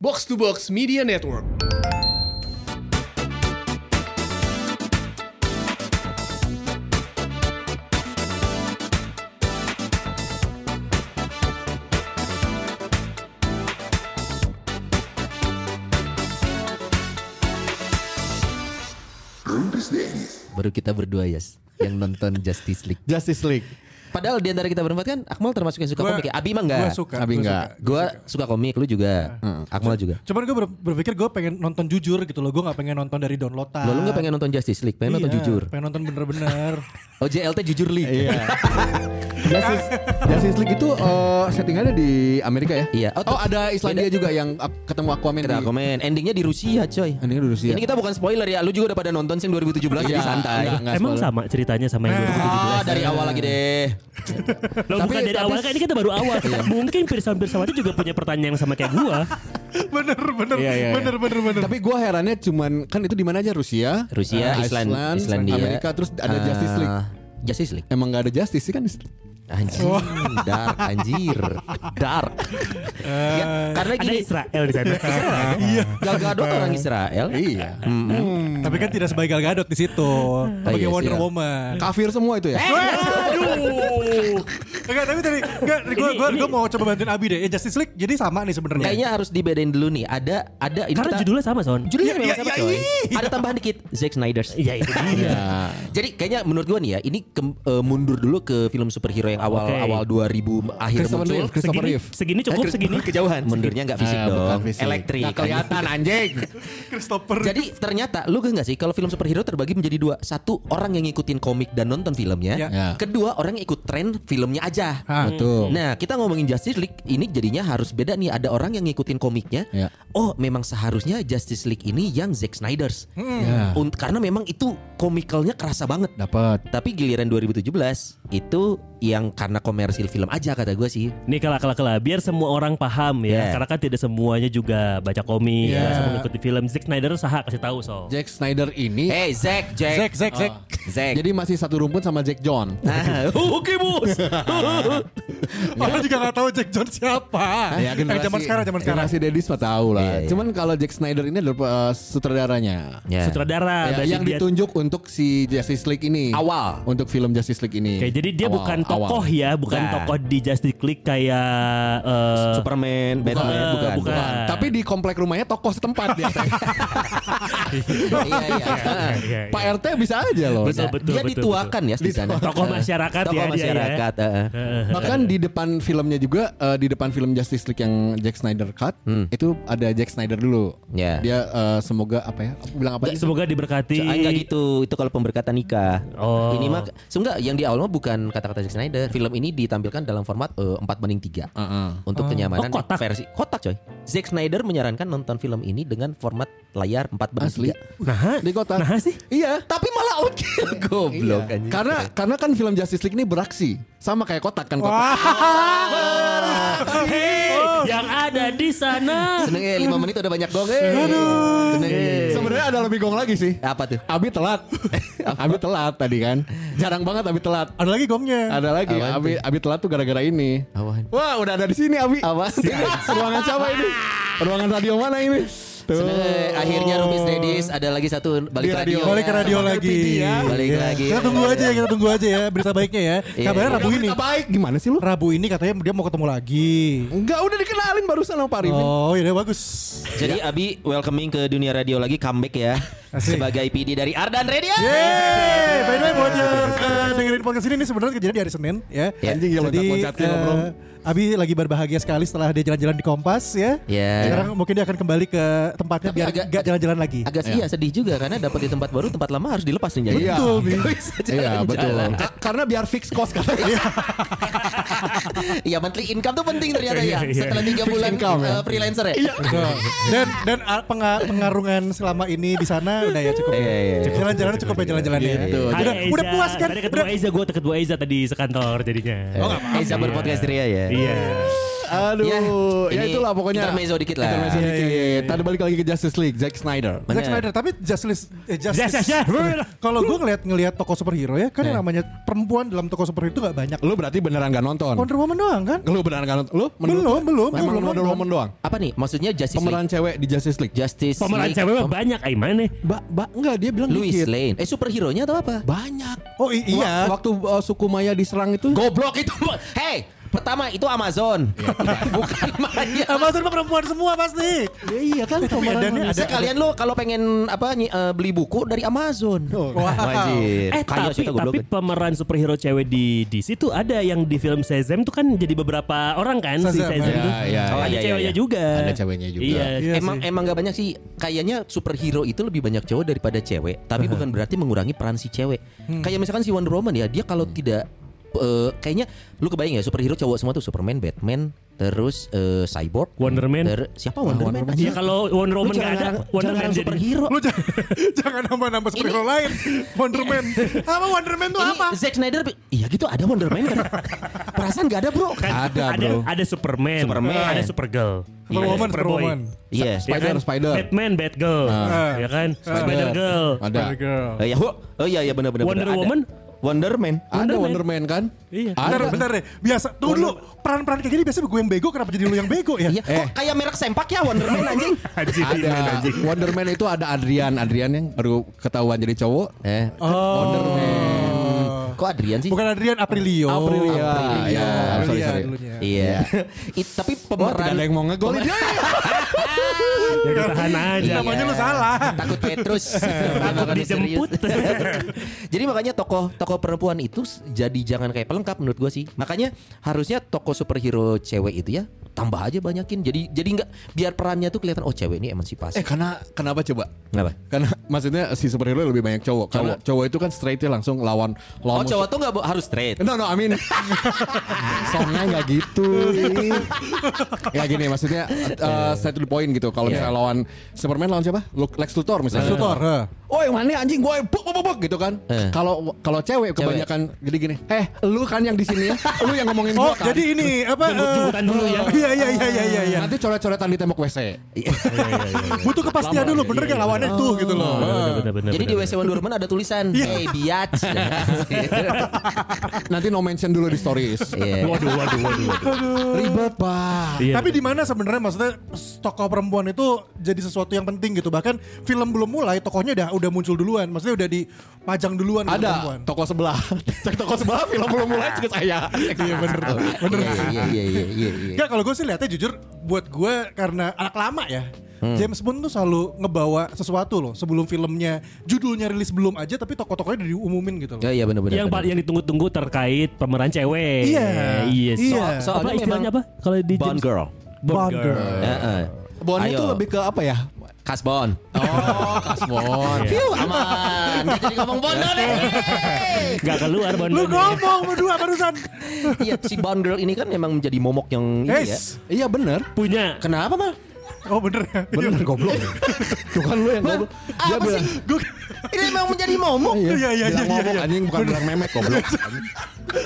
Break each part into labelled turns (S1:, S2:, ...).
S1: Box to Box Media Network.
S2: Baru kita berdua Yas Yang nonton Justice League
S3: Justice League.
S2: Padahal di antara kita berempat kan Akmal termasuk yang suka
S4: Gua-
S2: komik ya Abi mah enggak
S4: gua suka,
S3: Abi
S4: gua
S3: enggak.
S4: suka, Iya. gua
S2: Gue suka komik Lu juga Mm, Akmal juga
S4: Cuman gue berpikir gue pengen nonton jujur gitu loh. Gue gak pengen nonton dari downloadan.
S2: Lo lu gak pengen nonton Justice League Pengen nonton
S4: Iya,
S2: jujur
S4: Pengen nonton bener-bener.
S2: Oh JLT jujur League
S3: Justice, Justice League itu eh, settingannya di Amerika ya?
S2: Iya. Oh,
S3: Oh, ada Islandia juga yang eh, ketemu Aquaman
S2: Kita
S3: di
S2: komen Endingnya di Rusia coy
S3: Endingnya di Rusia.
S2: Ini kita bukan spoiler ya Lu juga udah pada nonton Sing 2017 Jadi
S3: Iya,
S2: santai
S3: enggak, enggak
S5: Emang
S3: spoiler.
S5: sama ceritanya sama yang
S2: Ah
S5: 2017.
S2: dari awal lagi deh
S5: Lo
S2: Tapi-
S5: bukan dari
S2: tapi-
S5: awal kan ini kita baru awal.
S3: Iya.
S5: Mungkin Pirsawan Pirsawati juga punya pertanyaan yang sama kayak gua.
S4: bener, bener,
S3: Iya, iya, iya.
S4: bener, bener, bener.
S3: Tapi gua herannya cuman kan itu di mana aja Rusia,
S2: Rusia,
S3: eh,
S2: Island, Islandia.
S3: Amerika terus ada Justice League.
S2: Ah, Justice League.
S3: Emang gak ada Justice sih kan?
S2: Anjir, dark, anjir, dark. Ya, karena
S5: Eh, Ada Eh.
S2: gini,
S5: Israel di sana.
S2: iya. Gal Gadot orang Israel. Hmm,
S3: Iya.
S4: Tapi kan tidak sebagai Gal Gadot di situ. Sebagai
S2: iya sih,
S4: Wonder
S2: iya.
S4: Woman.
S3: Kafir semua itu ya.
S5: Eh.
S4: Aduh. Enggak, tapi tadi enggak gua
S5: Ini-
S4: gua
S5: ini-
S4: gua mau coba bantuin Abi deh. Ya Justice League jadi sama nih sebenarnya.
S2: Kayaknya harus dibedain dulu nih. Ada ada ini
S5: Karena
S2: kita-
S5: judulnya sama Son.
S2: judulnya
S4: Iya,
S2: memang
S4: iya,
S2: sama
S4: iya,
S2: coy.
S4: iya.
S2: Ada tambahan dikit, Zack Snyder's.
S5: Iya itu dia.
S2: Jadi kayaknya menurut gua nih ya, ini ke- eh, mundur dulu ke film superhero yang awal
S5: Oke.
S2: awal 2000 akhir
S3: Christopher
S2: muncul.
S3: Reeve, Christopher
S5: Segini,
S3: Reeve.
S5: segini cukup
S2: Eh,
S5: segini.
S2: kejauhan. Mundurnya nggak fisik
S3: Eh, bukan
S2: dong.
S3: fisik.
S2: Elektrik.
S3: Nggak kelihatan anjing.
S4: Christopher.
S2: Jadi ternyata lu gak sih kalau film superhero terbagi menjadi dua. Satu orang yang ngikutin komik dan nonton filmnya.
S4: Ya.
S3: Ya.
S2: Kedua orang yang ikut tren filmnya aja.
S4: Hah.
S3: Betul.
S2: Nah kita ngomongin Justice League ini jadinya harus beda nih. Ada orang yang ngikutin komiknya.
S3: Ya.
S2: Oh memang seharusnya Justice League ini yang Zack Snyder's.
S3: Ya.
S2: Unt- karena memang itu komikalnya kerasa banget.
S3: Dapat.
S2: Tapi giliran 2017 itu yang karena komersil film aja kata gue sih.
S5: Nih kalah kalah kalah biar semua orang paham ya.
S2: Yeah.
S5: Karena kan tidak semuanya juga baca komik,
S4: Yeah.
S5: yeah. semua ngikutin film. Zack Snyder sah kasih tahu so.
S3: Jack Snyder ini
S2: Hey Zack,
S4: Zack,
S2: Zack,
S4: Zack, Zack.
S2: Zack.
S3: jadi masih satu rumpun sama Jack John.
S2: Nah, oke bos. Ah.
S4: Orang juga gak tahu Jack John siapa.
S3: Ya,
S4: eh, zaman sekarang, zaman sekarang.
S3: Generasi Dedis mah tahu
S2: Iya,
S3: lah.
S2: iya.
S3: Cuman kalau Jack Snyder ini adalah uh, sutradaranya.
S2: Ya.
S5: Sutradara
S3: Ya,
S5: Ah, berarti
S3: yang
S5: dia-
S3: ditunjuk untuk si Justice League ini.
S2: Awal.
S3: Untuk film Justice League ini.
S5: Oke, jadi dia
S3: Awal,
S5: bukan
S3: awal.
S5: tokoh ya, bukan
S2: Bukan.
S5: tokoh di Justice League kayak eh,
S2: Superman,
S5: Bukan,
S2: Batman, bukan,
S5: bukan.
S2: bukan.
S3: Tapi di komplek rumahnya tokoh setempat dia.
S2: iya, iya.
S5: Iya, iya, iya.
S3: Pak RT bisa aja loh.
S5: Betul,
S2: Nah,
S5: betul,
S2: dia
S5: betul,
S2: dituakan ya di sana.
S5: Tokoh masyarakat
S2: Tokoh
S5: ya dia ya.
S2: masyarakat. heeh.
S3: Bahkan di depan filmnya juga eh, di depan film Justice League yang Jack Snyder cut itu ada Jack Snyder dulu.
S2: Hmm. Ya.
S3: Dia eh, semoga apa ya? Aku bilang apa? sih?
S5: Semoga diberkati.
S2: So, ah, enggak gitu, itu kalau pemberkatan nikah.
S5: Oh.
S2: Ini mah so, enggak yang di awal mah bukan kata-kata Zack Snyder. Film ini ditampilkan dalam format eh, 4 banding 3
S3: Heeh.
S2: untuk kenyamanan
S5: Oh, kotak.
S2: versi kotak coy. Zack Snyder menyarankan nonton film ini dengan format layar 4 banding
S3: Asli.
S2: 3.
S5: Nah,
S3: Di kota.
S5: nah sih.
S3: Iya.
S2: Tapi malah outkill goblok
S3: Iya.
S2: anjing.
S3: Karena karena kan film Justice League ini beraksi sama kayak kotak kan kotak.
S5: Hei, Oh, yang ada di sana.
S2: Seneng ya 5 menit udah banyak gong. eh. Seneng ya.
S3: Sebenarnya ada lebih gong lagi sih.
S2: Apa tuh?
S3: Abi telat. Abi telat tadi kan. Jarang banget Abi telat.
S4: Ada lagi gongnya.
S3: Ada lagi.
S2: Apaan
S3: Abi Abi telat tuh gara-gara ini.
S2: Awan.
S3: Wah, udah ada di sini Abi.
S2: Awan.
S3: Ruangan siapa ini? Ruangan radio mana ini? Tuh.
S2: Seneng, eh. akhirnya Rumis Dedis ada lagi satu balik
S3: Di
S2: radio.
S3: radio.
S4: Balik ke radio
S3: Sebagai
S4: lagi.
S3: PD ya.
S2: Balik
S4: Iya.
S2: lagi.
S4: Kita tunggu aja ya, kita tunggu aja ya berita baiknya ya.
S2: Iya,
S4: Kabarnya
S2: iya.
S4: Rabu ini.
S3: Berita baik. Gimana sih lu?
S4: Rabu ini katanya dia mau ketemu lagi.
S3: Enggak, udah dikenalin barusan sama Pak Arifin.
S4: Oh, iya bagus.
S2: Jadi Abi welcoming ke dunia radio lagi comeback ya
S4: Ya. Asik.
S2: sebagai PD dari Ardan Radio.
S4: Yeay, by the way buat yang eh, dengerin podcast ini, ini sebenarnya kejadian di hari Senin ya.
S2: Ya.
S3: Anjing ya
S4: Jadi
S3: loncat-loncatin
S4: eh,
S3: ngobrol.
S4: Abi lagi berbahagia sekali setelah dia jalan-jalan di Kompas ya.
S2: Ya.
S4: Sekarang mungkin dia akan kembali ke tempatnya
S2: Tapi
S4: biar
S2: agak-
S4: gak jalan-jalan lagi.
S2: Agak sih ya sedih juga karena dapat di tempat baru tempat lama harus dilepas nih jadi.
S3: Iya.
S4: Betul, Bi.
S3: Iya, betul.
S2: Jalan.
S3: Ka- Karena biar fix cost kan. katanya.
S2: Iya monthly income tuh penting ternyata ya.
S5: Iya, iya.
S2: Setelah tiga bulan
S3: income, ya.
S2: eh, freelancer ya.
S4: Betul. dan dan ah, penga- pengarungan selama ini di sana udah ya cukup. ya.
S2: Iya, iya, iya.
S4: Cukup jalan-jalan cukup ya jalan-jalan ya.
S3: Gitu.
S4: Udah,
S5: Ada
S4: udah
S5: Eza.
S4: puas kan? Udah.
S5: Tadi
S2: Eh,
S4: Oh,
S5: ketemu Aiza, gue ketemu Aiza tadi sekantor jadinya.
S2: Eza berpodcast ria ya.
S5: Iya.
S3: Aduh,
S2: Ya,
S3: ya,
S2: ini
S3: itulah pokoknya.
S2: intermezzo dikit lah.
S3: Intermezzo
S2: Iya,
S3: dikit. Tadi balik lagi ke Justice League, Zack Snyder.
S2: Bener.
S4: Zack Snyder tapi Justice eh, Justice,
S5: Justice, ya.
S4: kalau gue ngeliat ngelihat toko superhero ya kan yang namanya perempuan dalam toko superhero itu gak banyak
S3: Lu berarti beneran gak nonton?
S4: Wonder Woman doang kan
S3: Lu beneran gak nonton? Lu menurut-
S4: Belum, belum,
S3: Emang
S4: belum
S3: Wonder
S4: nonton.
S3: Woman doang?
S2: Apa nih? Maksudnya Justice
S3: Pemeran
S2: League?
S3: cewek di Justice League?
S2: Justice
S5: Pemeran
S2: League,
S5: cewek mah
S2: pem-
S5: banyak ay mana?
S2: Eh,
S3: Ba, ba, enggak dia bilang
S2: Louis
S3: dikit.
S2: Lane. Eh superhero-nya atau apa?
S3: Banyak.
S4: Oh, i- iya.
S3: Wa- waktu uh, suku Maya diserang itu
S2: Goblok itu. Hey, pertama itu Amazon. Bukan Maya.
S4: Amazon mah perempuan semua pasti
S3: Ya iya kan
S4: medannya
S3: pemeran
S4: ada-
S2: Sekalian lu kalau pengen apa nyi- eh, beli buku dari Amazon.
S4: Wah.
S2: Wajib.
S5: Eh tapi, tapi pemeran superhero cewek di DC tuh ada yang di film Shazam tuh kan jadi beberapa orang kan si
S4: Shazam,
S5: Shazam
S4: ya.
S3: Ya,
S5: tuh.
S2: Oh,
S5: ada
S2: iya, iya,
S5: ceweknya
S2: iya.
S5: juga.
S3: Ada ceweknya juga.
S5: Iya.
S4: Iya
S2: emang emang gak banyak sih kayaknya superhero itu lebih banyak cowok daripada cewek tapi bukan berarti mengurangi peran si cewek
S5: Hmm.
S2: kayak misalkan si Wonder Woman ya dia kalau tidak eh, kayaknya lu kebayang ya superhero cowok semua tuh Superman Batman terus eh, Cyborg
S5: Wonder Man.
S2: ter- siapa Wonder, Man,
S5: Ya
S2: Anjing.
S5: kalau Wonder Woman
S2: Lu
S5: gak
S2: jangan
S5: ada,
S2: ngarang-
S5: Wonder
S2: jangan
S5: Man
S2: ngarang
S5: jadi
S2: superhero
S4: Lu jangan, jangan nambah-nambah superhero lain Wonder Man Apa Wonder Man tuh
S2: ini
S4: apa?
S2: Zack Snyder bi- iya gitu ada Wonder Man kan? perasaan gak ada bro
S5: Kan
S3: Ada,
S5: ada,
S3: bro.
S5: ada Superman,
S2: Superman.
S5: ada Supergirl, ada
S4: Superwoman,
S5: Superboy.
S4: Superwoman.
S2: iya
S5: Ya
S3: Spider,
S5: kan?
S3: Spider. Ah.
S5: Batman, Batgirl, ya kan? Spider Girl,
S3: Ada.
S4: Girl
S2: Eh, ya, oh, oh iya iya benar-benar
S5: Wonder
S2: benar, ada.
S5: Woman?
S2: Wonder Man
S3: Ada
S5: Man.
S3: Wonder Man kan?
S5: Iya.
S4: Bentar,
S3: Ada.
S4: bentar deh. Biasa, tunggu dulu. Peran-peran kayak gini biasanya gue yang bego, kenapa jadi lu yang bego ya?
S2: Iya, kok kayak merek sempak ya Wonder Man anjing?
S5: Haji
S3: Ada Wonder Man itu ada Adrian, Adrian yang baru ketahuan jadi cowok. Oh,
S2: eh,
S3: Wonder Man.
S2: Hmm. kok Adrian sih? Oh,
S4: Bukan Adrian Aprilio. Iya, Aprilia.
S3: Aprilia. Ya, sorry,
S4: Aprilia
S3: sorry.
S4: dulunya.
S2: Iya. It- tapi
S3: Wah,
S2: pemeran
S3: tidak ada yang mau ngegolin.
S5: Ya ditahan aja.
S2: Iya.
S4: Namanya lu salah.
S2: Takut Petrus. Takut
S5: dijemput.
S2: jadi makanya tokoh tokoh perempuan itu s- jadi jangan kayak pelengkap menurut gua sih. Makanya harusnya tokoh superhero cewek itu ya tambah aja banyakin. Jadi jadi nggak biar perannya tuh kelihatan oh cewek ini
S3: Eh
S2: emansipasi.
S3: karena kenapa coba?
S2: Kenapa?
S3: Karena maksudnya si superhero lebih banyak cowok. Karena cowok itu kan straightnya langsung lawan
S2: Oh
S3: lawan musuh.
S2: cowok tuh nggak bo- harus straight.
S3: No no I mean Songnya gak gitu Ya gini maksudnya uh, Straight to the point gitu Kalau misalnya lawan Superman lawan siapa? Lu- Lex Luthor misalnya
S4: Sutor. eh.
S3: Oh yang mana anjing gue buk buk buk, buk gitu kan
S2: Eh.
S3: Kalau kalau cewek kebanyakan Jadi gini Eh lu kan yang di sini ya Lu yang ngomongin
S4: Oh,
S3: gue kan
S4: jadi ini apa?
S5: Jemput-jemputan
S4: eh,
S5: dulu ya.
S4: Iya, iya, iya, iya, iya, iya.
S3: Nanti coret-coretan di tembok WC
S5: iya,
S4: Butuh kepastian dulu, bener gak lawannya tuh gitu loh.
S2: Jadi di WC Wonder Woman ada tulisan Hey biatch
S3: Nanti no mention dulu di stories
S2: Iya.
S5: Waduh, waduh, waduh. waduh.
S3: Ribet pak
S5: Iya,
S4: Tapi di mana sebenarnya maksudnya tokoh perempuan itu jadi sesuatu yang penting gitu. Bahkan film belum mulai tokohnya udah udah muncul duluan. Maksudnya udah dipajang duluan gitu
S3: Ada
S4: perempuan.
S3: toko sebelah Cek toko sebelah film belum mulai cek saya
S4: Iya bener. Bener.
S2: Iya, Iya iya iya iya iya.
S4: Enggak kalau gue sih lihatnya jujur buat gue karena anak lama ya. James Bond tuh selalu ngebawa sesuatu loh sebelum filmnya judulnya rilis belum aja tapi tokoh-tokohnya udah diumumin
S2: Ya
S4: gitu loh.
S2: iya benar-benar.
S5: yang
S2: benar.
S5: paling yang ditunggu-tunggu terkait pemeran cewek.
S4: Iya.
S5: Iya.
S4: Iya.
S5: So, apa
S2: Soalnya
S5: istilahnya apa?
S2: memang
S5: Kalau di
S2: Bond
S5: James-
S2: Girl.
S5: Bond Girl.
S2: Heeh.
S3: Bon itu
S2: Ayo.
S3: lebih ke apa ya?
S2: Kasbon.
S3: Oh, kasbon.
S2: Piu aman. Nggak Jadi ngomong Bond dong deh.
S5: Gak keluar Bond
S4: Lu
S5: Girl.
S4: ngomong berdua barusan.
S2: Iya si Bond Girl ini kan memang menjadi momok yang ini ya.
S4: Yes.
S3: Iya bener.
S5: Punya.
S2: Kenapa mal?
S4: Oh bener ya.
S3: Bener goblok. Bukan lu yang goblok. Dia
S2: Apa
S3: bilang,
S2: sih? Ini memang menjadi momok.
S3: Iya,
S4: Iya, iya,
S3: bilang
S4: iya,
S3: ngomong
S4: iya.
S3: anjing bukan bilang memek goblok.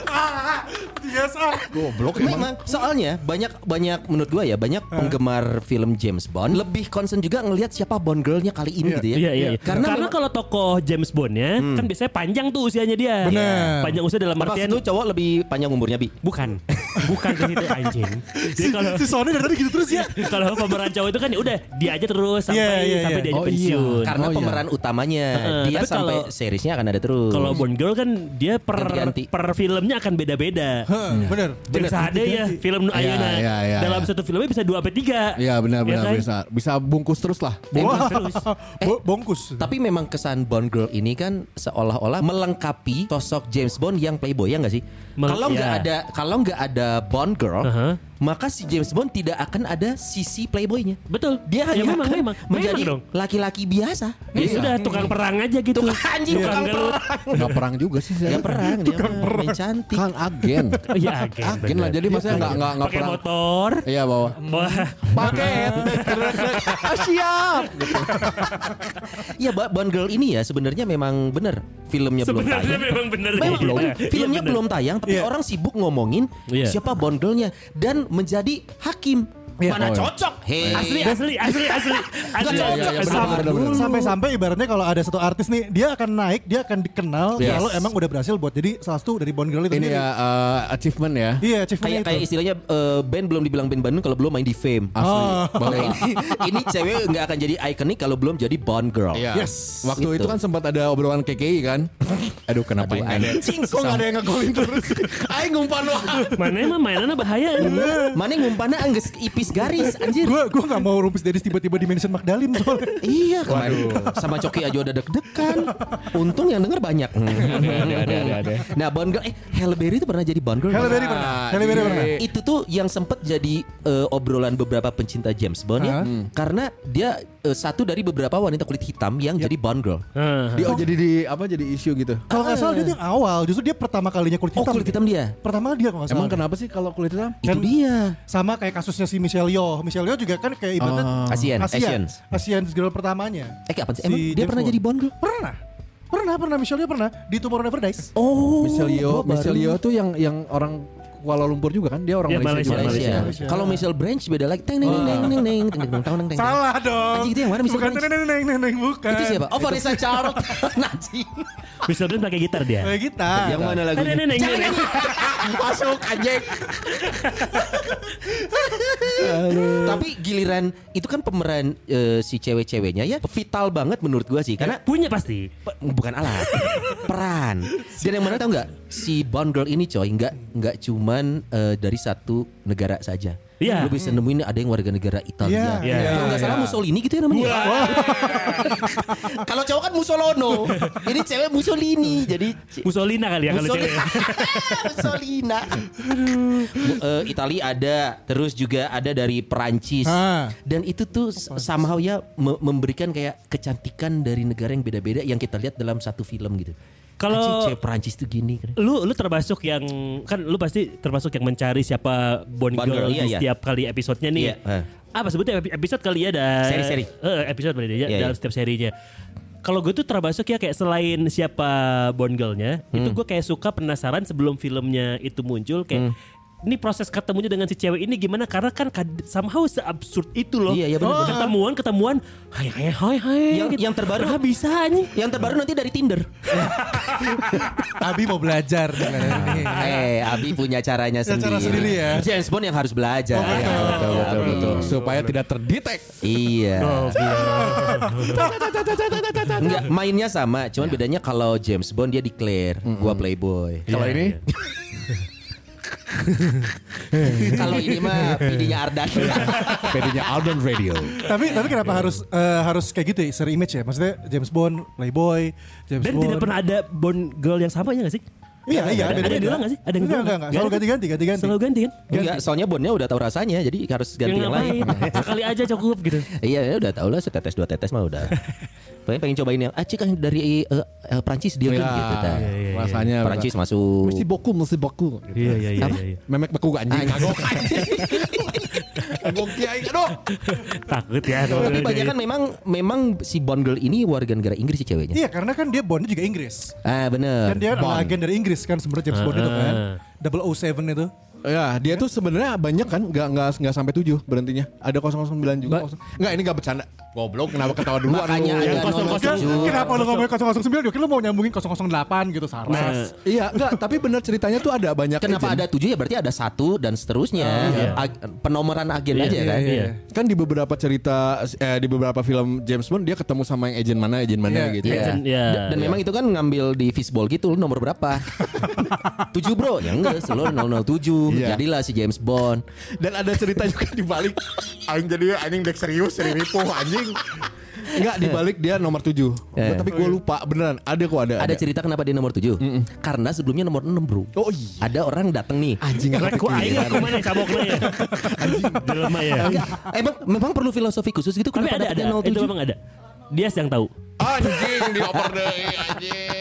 S4: Ah, yes ah.
S3: goblok emang.
S2: Memang soalnya banyak banyak menurut gua ya banyak penggemar film James Bond lebih concern juga ngelihat siapa Bond girlnya kali ini gitu ya.
S5: Iya, iya, iya. Karena,
S2: Karena, memang-
S5: kalau tokoh James Bondnya kan biasanya panjang tuh usianya dia.
S4: Bener.
S5: Panjang usia dalam
S2: Pas
S5: artian
S2: itu cowok lebih panjang umurnya bi.
S5: bukan, bukan ke situ anjing. Jadi
S4: Si,
S5: kalau
S4: si Sony dari tadi gitu terus ya.
S5: kalau pemeran cowok itu kan ya udah dia aja terus sampai
S4: Iya, iya,
S5: sampai
S4: iya.
S5: dia aja
S3: Oh, iya.
S5: pensiun.
S2: Karena
S3: Oh, iya.
S2: pemeran utamanya
S5: Heeh,
S2: dia
S5: tapi
S2: sampai
S5: kalau-
S2: seriesnya akan ada terus.
S5: Kalau Bond Girl kan dia per
S2: Ganti-ganti.
S5: per filmnya akan beda-beda.
S4: Heh, Bener.
S5: James Hade ya film Ayana
S3: iya, iya,
S5: dalam
S3: iya.
S5: satu filmnya bisa dua sampai tiga.
S3: Iya benar benar
S5: kan?
S3: bisa bisa bungkus terus lah.
S5: Bongkus
S4: Wah.
S5: terus.
S4: Bo- Bongkus.
S2: Tapi memang kesan Bond Girl ini kan seolah-olah melengkapi sosok James Bond yang playboy ya nggak sih?
S5: Mel-
S2: kalau nggak
S5: ya. Uh-huh.
S2: ada kalau nggak ada Bond Girl,
S5: Aha.
S2: maka si James Bond tidak akan ada sisi playboynya.
S5: Betul.
S2: Dia hanya
S5: Ya memang,
S2: akan
S5: memang.
S2: menjadi
S5: Memang dong.
S2: laki-laki biasa. Iya.
S5: Ya sudah tukang perang aja gitu.
S2: Tukang anjing, tukang
S5: gelut.
S3: Enggak perang juga sih saya.
S2: Dia Iya, perang, dia mah main cantik.
S3: Kan agen.
S5: Iya agen.
S3: Agen lah
S5: bener.
S3: jadi maksudnya enggak enggak enggak
S5: Pakai
S3: perang.
S5: motor.
S3: Iya bawa
S5: Wah,
S3: paket. Ah, Siap.
S2: Iya, Ba- Bond Girl ini ya sebenarnya memang bener filmnya belum
S5: sebenarnya
S2: tayang.
S5: memang bener.
S2: Memang
S5: Iya,
S2: filmnya
S5: bener.
S2: belum tayang tapi
S5: Iya,
S2: orang sibuk ngomongin
S5: Iya.
S2: siapa Bond Girl-nya dan menjadi hakim. Mana
S3: Oh, iya.
S2: cocok? Hei.
S5: Asli, asli, asli, asli, asli.
S2: Iya, iya, iya, benar,
S5: Sabar
S3: benar, benar.
S5: dulu.
S4: Sampai-sampai ibaratnya kalau ada satu artis nih, dia akan naik, dia akan dikenal
S3: Yes.
S4: kalau emang udah berhasil buat jadi salah satu dari Bond Girl itu
S3: Ini
S4: sendiri.
S3: ya eh, achievement ya.
S4: Iya,
S2: Kayak
S4: achievement
S2: kayak
S4: itu.
S2: istilahnya eh, band belum dibilang band Bandung kalau belum main di Fame.
S3: Asli.
S4: Oh.
S2: Nah, ini, ini cewek nggak akan jadi ikonik kalau belum jadi Bond Girl.
S3: Iya.
S4: Yes.
S3: Waktu
S2: Gitu.
S3: itu kan sempat ada obrolan KKI kan. Aduh kenapa ini?
S2: Anjing, kok nggak ada yang ngegolin terus? Aing ngumpan lo.
S5: Mana emang mainannya bahaya.
S2: Mana ngumpana angges ipis garis anjir.
S4: Gue gue nggak mau rumpis dari tiba-tiba di mention Magdalim soalnya.
S2: Iya kemarin sama Coki aja udah deg-degan. Untung yang denger banyak.
S5: ada, ada, ada, ada.
S2: Nah, Bond Girl eh Halle Berry itu pernah jadi Bond Girl.
S4: Halle
S2: nggak?
S4: Berry pernah. Halle Berry
S3: iya.
S4: pernah.
S2: Itu tuh yang sempet jadi eh, obrolan beberapa pencinta James Bond ya.
S4: Hah?
S2: Karena dia eh, satu dari beberapa wanita kulit hitam yang jadi Bond Girl.
S5: Heeh.
S3: Dia oh, jadi di apa jadi isu gitu.
S4: Kalau nggak salah dia tuh yang awal, justru dia pertama kalinya kulit
S2: Oh,
S4: hitam.
S2: kulit hitam dia.
S4: Pertama dia kalau nggak salah.
S3: Emang kenapa sih kalau kulit hitam?
S2: Itu
S4: Kan-
S2: dia.
S4: Sama kayak kasusnya si Michelle Yeoh. Michelle Yeoh juga kan kayak ibaratnya
S2: Asian,
S4: Asian,
S2: Asians.
S4: Asian girl pertamanya.
S2: Eh, kapan sih? Emang dia
S4: Si James
S2: pernah
S4: Bond.
S2: jadi Bond Girl?
S4: Pernah. Pernah, pernah Michelle Yeoh pernah di Tomorrow Never Dies.
S2: Oh,
S3: Michelle Yeoh,
S2: gua baru-
S3: Michelle Yeoh tuh yang yang orang Kuala Lumpur juga kan? Dia orang
S5: Iya,
S3: Malaysia, juga.
S5: Malaysia.
S2: Malaysia.
S4: Malaysia.
S2: Kalau Michelle Branch beda lagi. Teng neng neng neng neng neng teng, teng, teng, teng, teng.
S4: Salah dong.
S2: Anjing, itu yang mana Michelle
S4: Bukan
S2: Branch?
S4: neng neng neng neng, neng, bukan.
S2: Itu siapa? Oh, Vanessa Nah, Charlotte. Najib.
S5: Michelle Branch pakai gitar dia.
S4: Kayak kita.
S2: Yang mana
S5: Ada
S2: lagunya?
S5: nenek nenek.
S2: Masuk anjing. Tapi giliran itu kan pemeran eh, si cewek-ceweknya ya vital banget menurut gua sih karena
S5: Punya pasti.
S2: pe- bukan alat peran dan yang mana tau nggak si Bond Girl ini coy nggak nggak cuman eh, dari satu negara saja
S5: Iya.
S2: Lu bisa nemuin ada yang warga negara Italia
S4: Iya,
S5: iya,
S2: kalau nggak salah
S3: iya.
S2: Mussolini gitu ya namanya kalau cowok kan Mussolono ini cewek Mussolini jadi ce-
S5: Musolina kali ya kalau
S2: Mussolini.
S5: cewek.
S2: Mussolina. Bu- eh, Italia ada, terus juga ada dari Perancis.
S4: Ah.
S2: Dan itu tuh s- somehow ya me- memberikan kayak kecantikan dari negara yang beda-beda yang kita lihat dalam satu film gitu.
S5: Kalau-
S2: Anjing, cewek Perancis tuh gini kan.
S5: Lu lu termasuk yang kan lu pasti termasuk yang mencari siapa Bond
S2: Bond
S5: Girl
S2: Girl, iya,
S5: di
S2: iya.
S5: setiap kali episodenya nih.
S2: Iya, eh.
S5: Apa sebutnya epi- episode kali ya ada
S2: Seri-seri.
S5: Eh, episode berarti ya
S2: Iya,
S5: dalam
S2: iya.
S5: setiap serinya. Kalau gue tuh termasuk ya kayak selain siapa Bond Girl-nya,
S2: Hmm.
S5: itu gue kayak suka penasaran sebelum filmnya itu muncul kayak
S2: Hmm.
S5: Ini proses ketemunya dengan si cewek ini gimana? Karena kan kad- somehow seabsurd itu loh.
S2: Iya, iya, benar,
S5: Oh,
S2: benar.
S5: ketemuan ketemuan, hai hai hai hai.
S2: Yang- yang terbaru-
S5: ah, bisa nih.
S2: Yang terbaru nanti dari Tinder.
S4: Abi mau belajar dengan ini.
S2: eh, Abi punya caranya
S4: Punya cara sendiri ya.
S2: James Bond yang harus belajar. Iya,
S3: Betul, betul,
S2: Abi.
S3: betul. Supaya tidak terdetek.
S2: Iya. Enggak, mainnya sama, cuman bedanya kalau James Bond dia declare gua playboy.
S3: Kalau ini
S2: Kalau ini mah pidinya Ardan.
S3: pedenya Alden Radio.
S4: tapi tapi kenapa harus eh, harus kayak gitu ya seri image ya? Maksudnya James Bond, Playboy, James
S5: Dan
S4: Bond.
S5: tidak pernah ada Bond girl yang sama ya gak sih?
S4: Iya, iya,
S5: Ada, ada yang bilang gak sih? Ada yang
S4: enggak,
S5: bilang
S4: enggak, enggak. Selalu ganti-ganti, ganti-ganti.
S5: Selalu ganti kan?
S2: Enggak, soalnya Bondnya udah tahu rasanya, jadi harus ganti yang, lain.
S5: Sekali aja cukup gitu.
S2: Iya, ya udah tahu lah setetes dua tetes mah udah. Pengen pengen cobain yang ah cik yang dari eh, eh, Prancis dia
S3: Iya,
S2: kan gitu dah.
S3: Rasanya
S2: Prancis masuk.
S3: Mesti boku, mesti boku.
S5: Iya iya iya. iya.
S3: Memek beku gak anjing.
S2: Kagok.
S3: Kagok kiai. Aduh.
S5: Takut ya.
S2: Tapi banyak kan memang memang si Bond girl ini warga negara Inggris sih ceweknya.
S4: Iya, karena kan dia Bondnya juga Inggris.
S2: Ah bener
S4: Kan dia adalah
S2: Bond.
S4: agen dari Inggris kan sebenarnya James Bond itu kan. 007 itu.
S3: Ya, dia tuh sebenarnya banyak kan, nggak nggak nggak sampai 7 berhentinya. Ada 009 juga. Nggak, ini nggak bercanda. Iya, Goblok, kenapa ketawa dulu?
S2: Makanya ada
S5: Yang kosong-
S4: Kan,
S2: 007.
S4: kenapa lu ngomongin 009? Dia kira lu mau nyambungin 008 gitu, Sarah.
S3: Iya, enggak, tapi benar ceritanya tuh ada banyak
S2: Kenapa
S3: agent.
S2: ada tujuh ya berarti ada satu dan seterusnya. Ag- penomoran agen aja kan.
S5: Oh, Iya.
S3: kan di beberapa cerita eh, di beberapa film James Bond dia ketemu sama yang agent mana agent mana
S4: Iya.
S3: gitu
S2: Iya.
S5: Agent, iya.
S2: Dan, dan memang itu kan ngambil di fishball gitu lu nomor berapa? 7 bro. Ya enggak, selalu 007.
S3: Iya.
S2: Jadilah si James Bond.
S3: dan ada cerita juga di balik
S6: Aing jadi anjing dek serius, seri ripuh anjing.
S3: enggak di balik dia nomor 7
S2: Iya.
S3: tapi gue lupa beneran ada kok Eh. ada
S2: Ada cerita kenapa dia nomor 7? Karena sebelumnya nomor 6, Bro.
S3: oh iya
S2: Ada orang datang nih.
S3: anjing nggak
S2: Iya.
S5: Aku aing
S3: kepikiran.
S5: aku mana caboknya ya. Jelema ya.
S2: Enggak, emang memang perlu filosofi khusus gitu
S5: Tapi
S2: kenapa
S5: ada ada.
S2: dapetnya
S5: Itu
S2: 07?
S5: memang ada. Dia yang tahu.
S6: Anjing dioper deui anjing.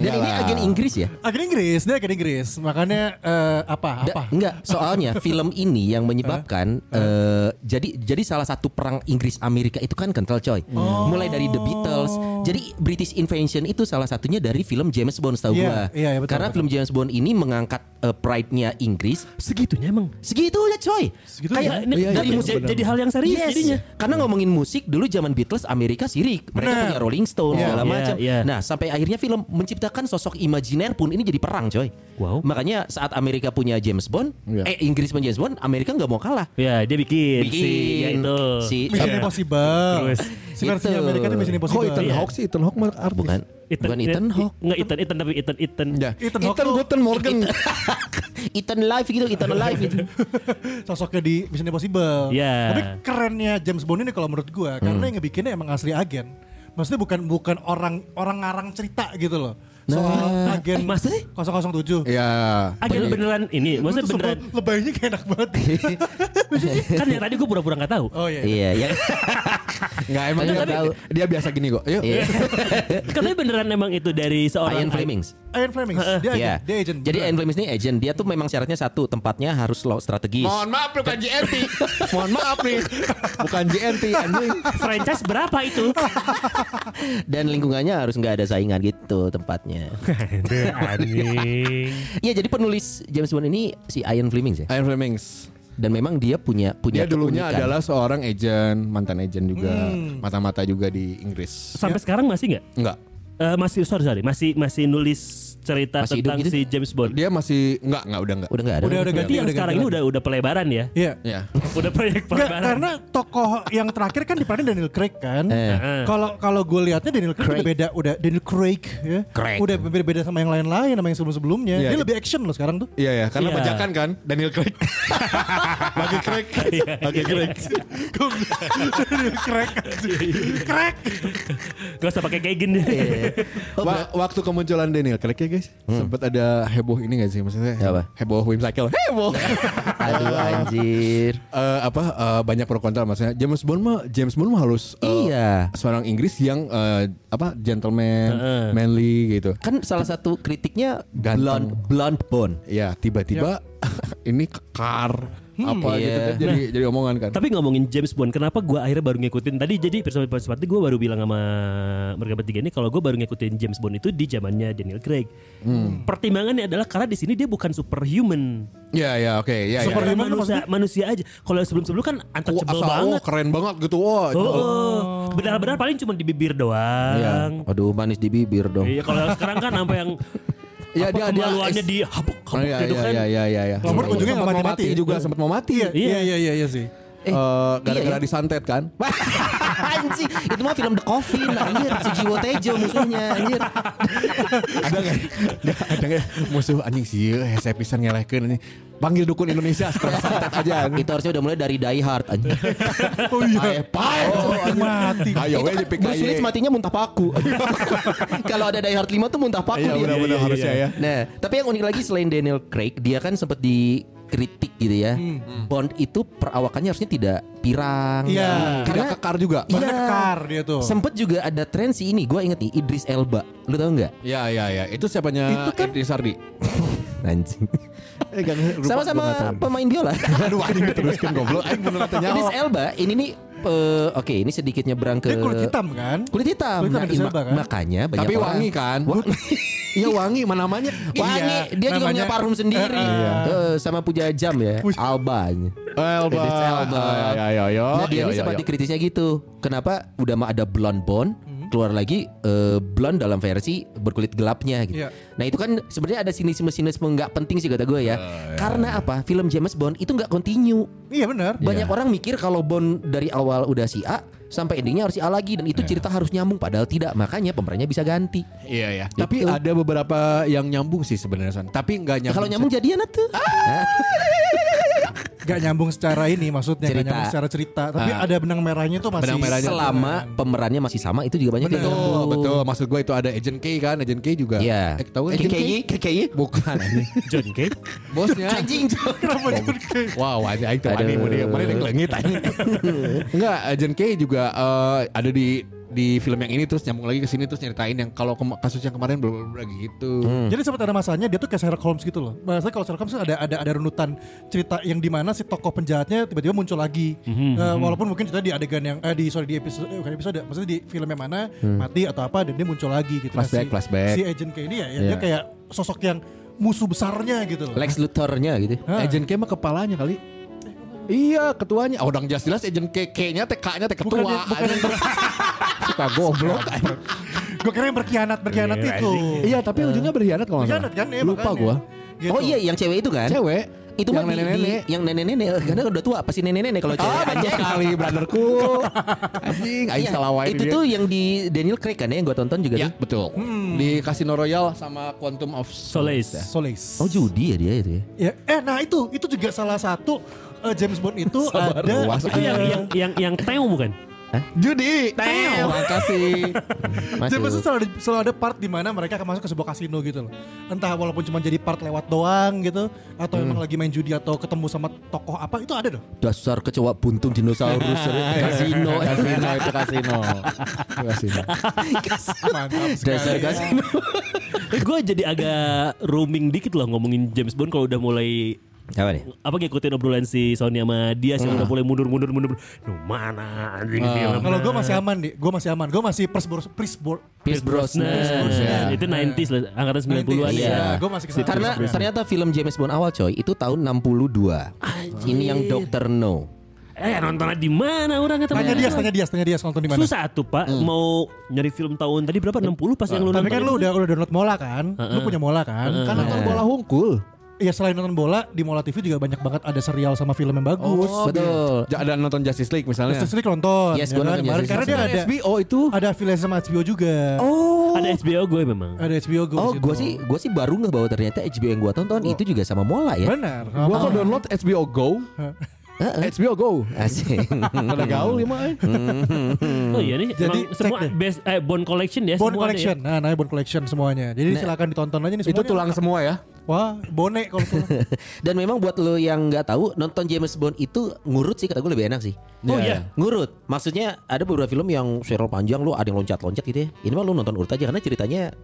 S2: Dan ini agen Inggris ya?
S4: Agen Ah, Inggris, dia agen Inggris. Makanya eh, apa?
S2: Da-
S4: Apa? Eh?
S2: enggak, soalnya film ini yang menyebabkan
S4: Oh.
S2: eh, jadi jadi salah satu perang Inggris Amerika itu kan kental coy. Mulai dari The Beatles, Jadi British Invasion itu salah satunya dari film James Bond setahu
S4: Iya,
S2: gua.
S4: iya, iya, betul,
S2: Karena
S4: betul.
S2: film James Bond ini mengangkat eh, pride-nya Inggris
S5: Segitunya emang.
S2: segitunya coy.
S5: Kayak ini
S2: Kayak
S5: dari
S2: dari
S5: musik jadi hal yang serius
S2: Yes.
S5: jadinya.
S2: Karena ngomongin musik dulu zaman Beatles Amerika sirik, mereka
S4: Benar.
S2: punya Rolling Stone
S4: Iya.
S2: segala
S5: Iya,
S2: macam.
S5: iya.
S2: Nah, sampai akhirnya film menciptakan sosok imajiner pun ini jadi perang, coy.
S5: Wow.
S2: Makanya saat Amerika punya James Bond,
S3: Iya.
S2: eh Inggris punya James Bond, Amerika nggak mau kalah.
S5: Ya dia bikin,
S2: Bikin
S5: si ya itu.
S2: si
S4: Mission Impossible.
S5: Terus.
S4: Si versinya
S2: Gitu.
S4: Amerika itu Mission
S3: Kok
S4: Impossible.
S3: Oh, Ethan
S5: Iya.
S3: Hawke sih? Ethan Hawke mah artis.
S2: bukan bukan Ethan Hawke.
S5: Nggak Ethan, Ethan tapi Ethan, Ethan.
S3: Ya.
S4: Ethan
S3: Ethan,
S4: Hawke tuh-
S3: Ethan Morgan.
S2: Ethan Live gitu, Ethan Live gitu.
S4: Sosoknya di Mission Impossible.
S5: Iya. Hmm.
S4: Tapi kerennya James Bond ini kalau menurut gua karena yang ngebikinnya emang asli agen. Maksudnya bukan bukan orang orang ngarang cerita gitu loh.
S2: Nah.
S4: Soal agen
S5: Eh, maksudnya?
S4: 007.
S2: Eh,
S3: Ya.
S6: Iya.
S5: Agen
S3: Jadi-
S5: beneran ini,
S4: Lu
S5: maksudnya
S4: tuh sebelum
S5: beneran.
S4: Lebaynya kayak enak banget.
S5: kan yang tadi gue pura-pura nggak tahu.
S4: oh iya.
S2: Iya, ya.
S3: Enggak emang
S2: Tapi-
S3: dia
S2: tapi-
S3: tahu. Dia biasa gini kok. Ayo.
S2: Iya.
S5: Katanya beneran emang itu dari seorang.
S2: Ian Flemings.
S4: Ian Fleming. Dia
S2: Iya.
S4: agent. Dia agent.
S2: Jadi
S4: beneran.
S2: Ian Flemings ini agent. Dia tuh memang syaratnya satu, tempatnya harus lo strategis.
S6: Mohon maaf bukan JNT. Mohon maaf nih.
S3: Bukan JNT anjing.
S5: Franchise berapa itu?
S2: Dan lingkungannya harus nggak ada saingan gitu tempatnya.
S5: Anjing.
S2: Iya, jadi penulis James Bond ini si Ian Flemings ya.
S3: Ian Flemings.
S2: Dan memang dia punya punya
S3: Dia dulunya
S2: keunikan.
S3: adalah seorang agent, mantan agent juga, mata-mata juga di Inggris.
S5: Sampai sekarang masih nggak?
S3: Enggak.
S5: Eh masih sorry sorry masih masih nulis cerita
S2: Masih hidup
S5: tentang
S2: gitu?
S5: si James Bond.
S3: Dia masih enggak, enggak udah enggak.
S2: udah nggak ada.
S4: Udah- udah
S5: Berarti
S4: ganti.
S5: yang sekarang ini
S4: ganti.
S5: udah udah pelebaran ya.
S4: Iya.
S3: Ya.
S5: Udah proyek
S4: Nggak,
S5: pelebaran.
S4: karena tokoh yang terakhir kan diperanin Daniel Craig kan.
S5: Eh.
S4: Kalau kalau gue lihatnya Daniel Craig, udah beda udah Daniel Craig ya.
S2: Craig.
S4: Udah beda-beda sama yang lain-lain sama yang sebelum-sebelumnya.
S3: Iya,
S4: Dia
S3: iya.
S4: lebih action loh sekarang tuh.
S3: Iya ya, karena
S5: Iya.
S3: bajakan kan Daniel Craig. Bagi Craig,
S5: Iya.
S3: bagi Craig.
S4: Daniel Craig. Craig.
S5: Gak usah pakai kayak gini.
S3: Wa- waktu kemunculan Daniel Craig ya guys, sempat ada heboh ini gak sih maksudnya?
S2: Apa?
S3: Heboh whimsical. Heboh.
S2: Aduh anjir.
S3: Eh, apa eh, banyak pro kontra maksudnya James Bond mah James Bond mah harus eh,
S2: Iya.
S3: seorang Inggris yang eh, apa gentleman,
S5: Heeh.
S3: manly gitu.
S2: Kan salah satu kritiknya blonde
S3: Ganteng.
S2: blonde Bond.
S3: Ya tiba-tiba ini kekar apa gitu
S2: Iya.
S3: kan jadi jadi omongan kan.
S5: Tapi ngomongin James Bond, kenapa gue akhirnya baru ngikutin tadi? Jadi persoalan seperti gue baru bilang sama mereka bertiga ini kalau gue baru ngikutin James Bond itu di zamannya Daniel Craig. Pertimbangannya adalah karena di sini dia bukan superhuman,
S3: Iya ya oke ya ya.
S5: Superhuman
S4: Superhuman
S5: manusia, manusia aja. Kalau sebelum-sebelum kan
S3: Wah,
S5: untouchable
S3: asal, wah,
S5: banget.
S3: keren banget gitu. Wah,
S5: Oh, benar-benar paling cuma di bibir doang.
S2: Iya. Aduh manis di bibir dong.
S5: Iya, kalau yang sekarang kan sampai yang
S3: Ya,
S5: apa
S3: dia- dia
S5: kemaluannya
S3: es-
S5: di habuk
S3: Oh, iya,
S5: gitu
S3: iya,
S5: kan.
S3: iya, iya, iya, iya.
S4: Nomor
S3: Sempet-
S4: ujungnya nggak
S3: sempet mau
S4: mati-mati.
S3: mati juga sempat mau mati.
S4: Iya,
S5: Iya.
S4: iya, iya, iya, iya sih.
S2: Eh,
S3: Eh,
S2: iya,
S3: gara-gara
S2: iya.
S3: disantet kan?
S2: anjir, itu mah film The Coffin anjir, Sujiwo Tejo musuhnya anjir.
S3: ada nggak? Nggak, Ada nggak? Musuh anjing sih, eh, saya pisan ngelehkeun ini. Panggil dukun Indonesia supaya santet aja.
S2: Itu harusnya udah mulai dari Die Hard anjir.
S4: Oh iya.
S3: Ae, pae.
S4: mati.
S3: Ayo
S2: Oh,
S3: Iya,
S2: itu
S3: we
S2: kan
S3: dipik
S2: Bruce
S3: aye.
S2: Willis matinya muntah paku. Kalau ada Die Hard 5 tuh muntah paku
S3: Iya,
S2: dia.
S3: benar-benar
S5: iya,
S3: harusnya
S5: iya.
S3: ya.
S2: Nah, tapi yang unik lagi selain Daniel Craig, dia kan sempat dikritik gitu ya.
S3: Hmm.
S2: Bond itu perawakannya harusnya tidak pirang.
S4: Iya.
S3: Tidak
S2: Karena
S3: kekar juga.
S4: Bahkan kekar dia tuh.
S2: Sempet juga ada tren sih ini, gue inget nih Idris Elba, lu tau nggak?
S3: Ya ya ya, itu siapanya
S4: Itu kan-
S3: Idris Sardi?
S2: Anjing.
S3: Eh, gak- lupa, gua nggak
S2: Sama-sama
S3: tahu.
S2: pemain biola.
S3: Aduh anjing diteruskan goblok. Aing beneran tanya.
S2: Idris Elba, ini nih, eh, oke ini sedikit nyebrang ke
S4: Dia
S3: Eh.
S4: kulit hitam kan?
S2: Kulit hitam.
S4: Kulit hitam
S2: Nah,
S4: Idris
S2: ima-
S4: Elba, kan?
S2: Makanya banyak
S3: Tapi
S2: orang-
S3: wangi kan? Iya wangi, mana namanya?
S2: Wangi,
S4: Iya,
S2: dia juga punya
S4: namanya-
S2: parfum sendiri.
S4: Iya.
S2: Eh, sama punya jam ya, Alba.
S3: Elba.
S2: Idris Elba.
S3: Ya ya ya.
S2: nah, dia ini sempat dikritisnya gitu. Kenapa udah mah ada blonde bond,
S3: Mhm.
S2: keluar lagi eh, blonde dalam versi berkulit gelapnya gitu.
S4: Iya.
S2: Nah, itu kan sebenarnya ada sinisme-sinisme nggak penting sih kata gue
S3: Oh,
S2: ya.
S3: iya.
S2: Karena apa? Film James Bond itu nggak continue.
S4: Iya benar.
S2: Banyak orang mikir kalau Bond dari awal udah si A sampai endingnya harus si A lagi dan itu cerita harus nyambung padahal tidak. Makanya pemerannya bisa ganti.
S3: Iya ya.
S2: Gitu.
S3: Tapi ada beberapa yang nyambung sih sebenarnya San. Tapi nggak
S2: Ya,
S3: nyambung.
S2: kalau nyambung Ah, jadian tuh.
S4: Gak nyambung secara ini maksudnya, gak
S2: Cerita.
S4: nyambung secara cerita. Tapi
S3: Ah.
S4: ada benang merahnya tuh masih.
S3: Benang merahnya.
S2: Selama pemerannya masih sama itu juga banyak yang
S3: Betul,
S2: nyambung.
S3: betul. Maksud gue itu ada agent K kan, agent K juga.
S2: Iya.
S3: Eh, tahu kan?
S2: Agent K?
S3: KKI? Bukan. anjing.
S5: John Cage.
S3: Bosnya.
S2: Anjing.
S4: Kenapa John Cage?
S3: Wow, anjing aing tuh
S2: Aduh.
S3: aneh mun dia. Mana dia kelengit anjing. Enggak, agent K juga eh, ada di di film yang ini terus nyambung lagi ke sini terus nyeritain yang kalau kema- kasus yang kemarin bla bla bla gitu.
S4: Jadi sempat ada masanya dia tuh kayak Sherlock Holmes gitu loh. Maksudnya kalau Sherlock Holmes tuh ada ada ada runutan cerita yang dimana si tokoh penjahatnya tiba-tiba muncul lagi.
S3: Hmm,
S4: Eh, walaupun mungkin cerita di adegan yang eh, di sorry di episode eh, bukan episode maksudnya di film yang mana mati atau apa dan dia muncul lagi gitu. Nah,
S3: Hmm. Flashback,
S4: si,
S3: flashback.
S4: Si agent kayak ini ya, ya dia
S3: Iya.
S4: kayak sosok yang musuh besarnya gitu loh.
S2: Lex Luthor-nya gitu.
S4: Hah.
S3: Agent Eh, K mah kepalanya kali. Iya ketuanya Oh udah jelas jelas Agent K K-nya teh K-nya teh ketua
S4: Bukan, bukan.
S3: anjing. Suka goblok anjing.
S4: Gue kira yang berkhianat berkhianat
S5: Iya,
S4: itu.
S3: Iya tapi ujungnya berkhianat kalau nggak
S4: Berkhianat
S3: salah.
S4: kan? Iya,
S3: Lupa
S4: makanya.
S3: gua
S4: Gitu.
S2: Oh iya yang cewek itu kan?
S3: Cewek
S2: Itu mah
S3: yang
S2: di- di-
S3: nenek-nenek
S2: yang nenek-nenek karena udah tua pasti nenek-nenek kalau cewek.
S3: Ah betul
S2: Anjing.
S3: sekali brotherku Anjing Aing
S2: Iya,
S3: salah wae
S2: Itu
S3: dia.
S2: tuh yang di Daniel Craig kan ya yang gue tonton juga
S3: Ya
S2: tuh.
S3: betul Di Casino Royale sama Quantum of
S4: Hmm.
S5: Solace.
S3: Iya.
S4: Solace.
S2: Oh judi ya dia itu ya.
S4: Ya, eh nah itu itu juga salah satu eh, James Bond itu
S3: Sabar,
S4: ada
S3: luas.
S5: Itu yang yang yang yang Teo bukan?
S3: Judi Terima kasih
S4: Jadi maksudnya
S2: Masuk.
S4: selalu ada, selalu ada part di mana mereka akan masuk ke sebuah kasino gitu loh. Entah walaupun cuma jadi part lewat doang gitu atau
S2: Hmm.
S4: emang lagi main judi atau ketemu sama tokoh apa itu ada dong.
S2: Dasar kecewa buntung dinosaurus ya. kasino.
S3: Kasino itu kasino Itu Kasino
S4: Mantap
S2: Dasar
S4: sekali.
S2: kasino.
S5: Eh, gue jadi agak roaming dikit loh ngomongin James Bond kalau udah mulai
S2: Apa nih?
S5: apa ngikutin obrolan si Sony sama dia sih
S3: Ah.
S5: udah mulai mundur mundur mundur. Duh, mana anjing film.
S4: Kalau gue masih aman nih, gue masih aman. Gue masih persbor persbor.
S2: Pierce Brosnan.
S5: Brosnan. Nah, Itu 90s lah, angkatan 90-an
S2: Iya.
S5: ya.
S4: Gue masih kesana.
S2: Karena ternyata film James Bond awal coy itu tahun 62. Ini yang Dr. No.
S5: Eh nontonnya di mana orang kata
S4: tanya
S2: Iya.
S4: dia, tanya dia, tanya dia nonton di mana. Hmm.
S5: Susah tuh Pak mau nyari film tahun tadi berapa 60 pas yang lu
S4: Tapi
S5: nonton.
S4: kan lu udah udah download Mola kan? Lu punya Mola kan? Kan nonton bola
S3: hungkul
S4: ya selain nonton bola di Mola TV juga banyak banget ada serial sama film yang bagus.
S3: Oh,
S2: Betul.
S3: Ja- Ada nonton Justice League misalnya
S4: Justice League nonton.
S2: iya. Yes,
S4: ya
S2: gua
S4: kan?
S2: nonton
S4: Kemarin
S2: Justice
S4: Karena dia
S2: League.
S4: ada
S3: HBO itu
S4: ada afiliasi sama HBO juga.
S5: Ada HBO gue memang.
S4: Ada HBO Go.
S2: Oh,
S4: di situ.
S2: gue sih gue sih baru nggak bahwa ternyata HBO yang gue tonton itu juga sama Mola ya.
S4: Benar.
S3: Gua kok download HBO Go HBO Go
S2: Asik.
S3: Ada gaul ya mah
S5: Oh iya nih.
S4: Hmm. Jadi,
S5: Jadi
S4: cek
S5: semua
S4: deh.
S5: best eh, Bond Collection ya
S4: Bone
S5: semua ada
S4: Collection.
S5: ya.
S4: Nah, namanya Bone Collection semuanya. Jadi silakan ditonton aja nih
S3: Itu
S4: semuanya.
S3: tulang semua ya
S4: Wah, bone kalau tulang.
S2: Dan memang buat lo yang nggak tahu nonton James Bond itu ngurut sih kata gue lebih enak sih.
S5: Oh iya.
S2: Ngurut. Maksudnya ada beberapa film yang serial panjang lo ada yang loncat-loncat gitu ya. Ini mah lo nonton urut aja karena ceritanya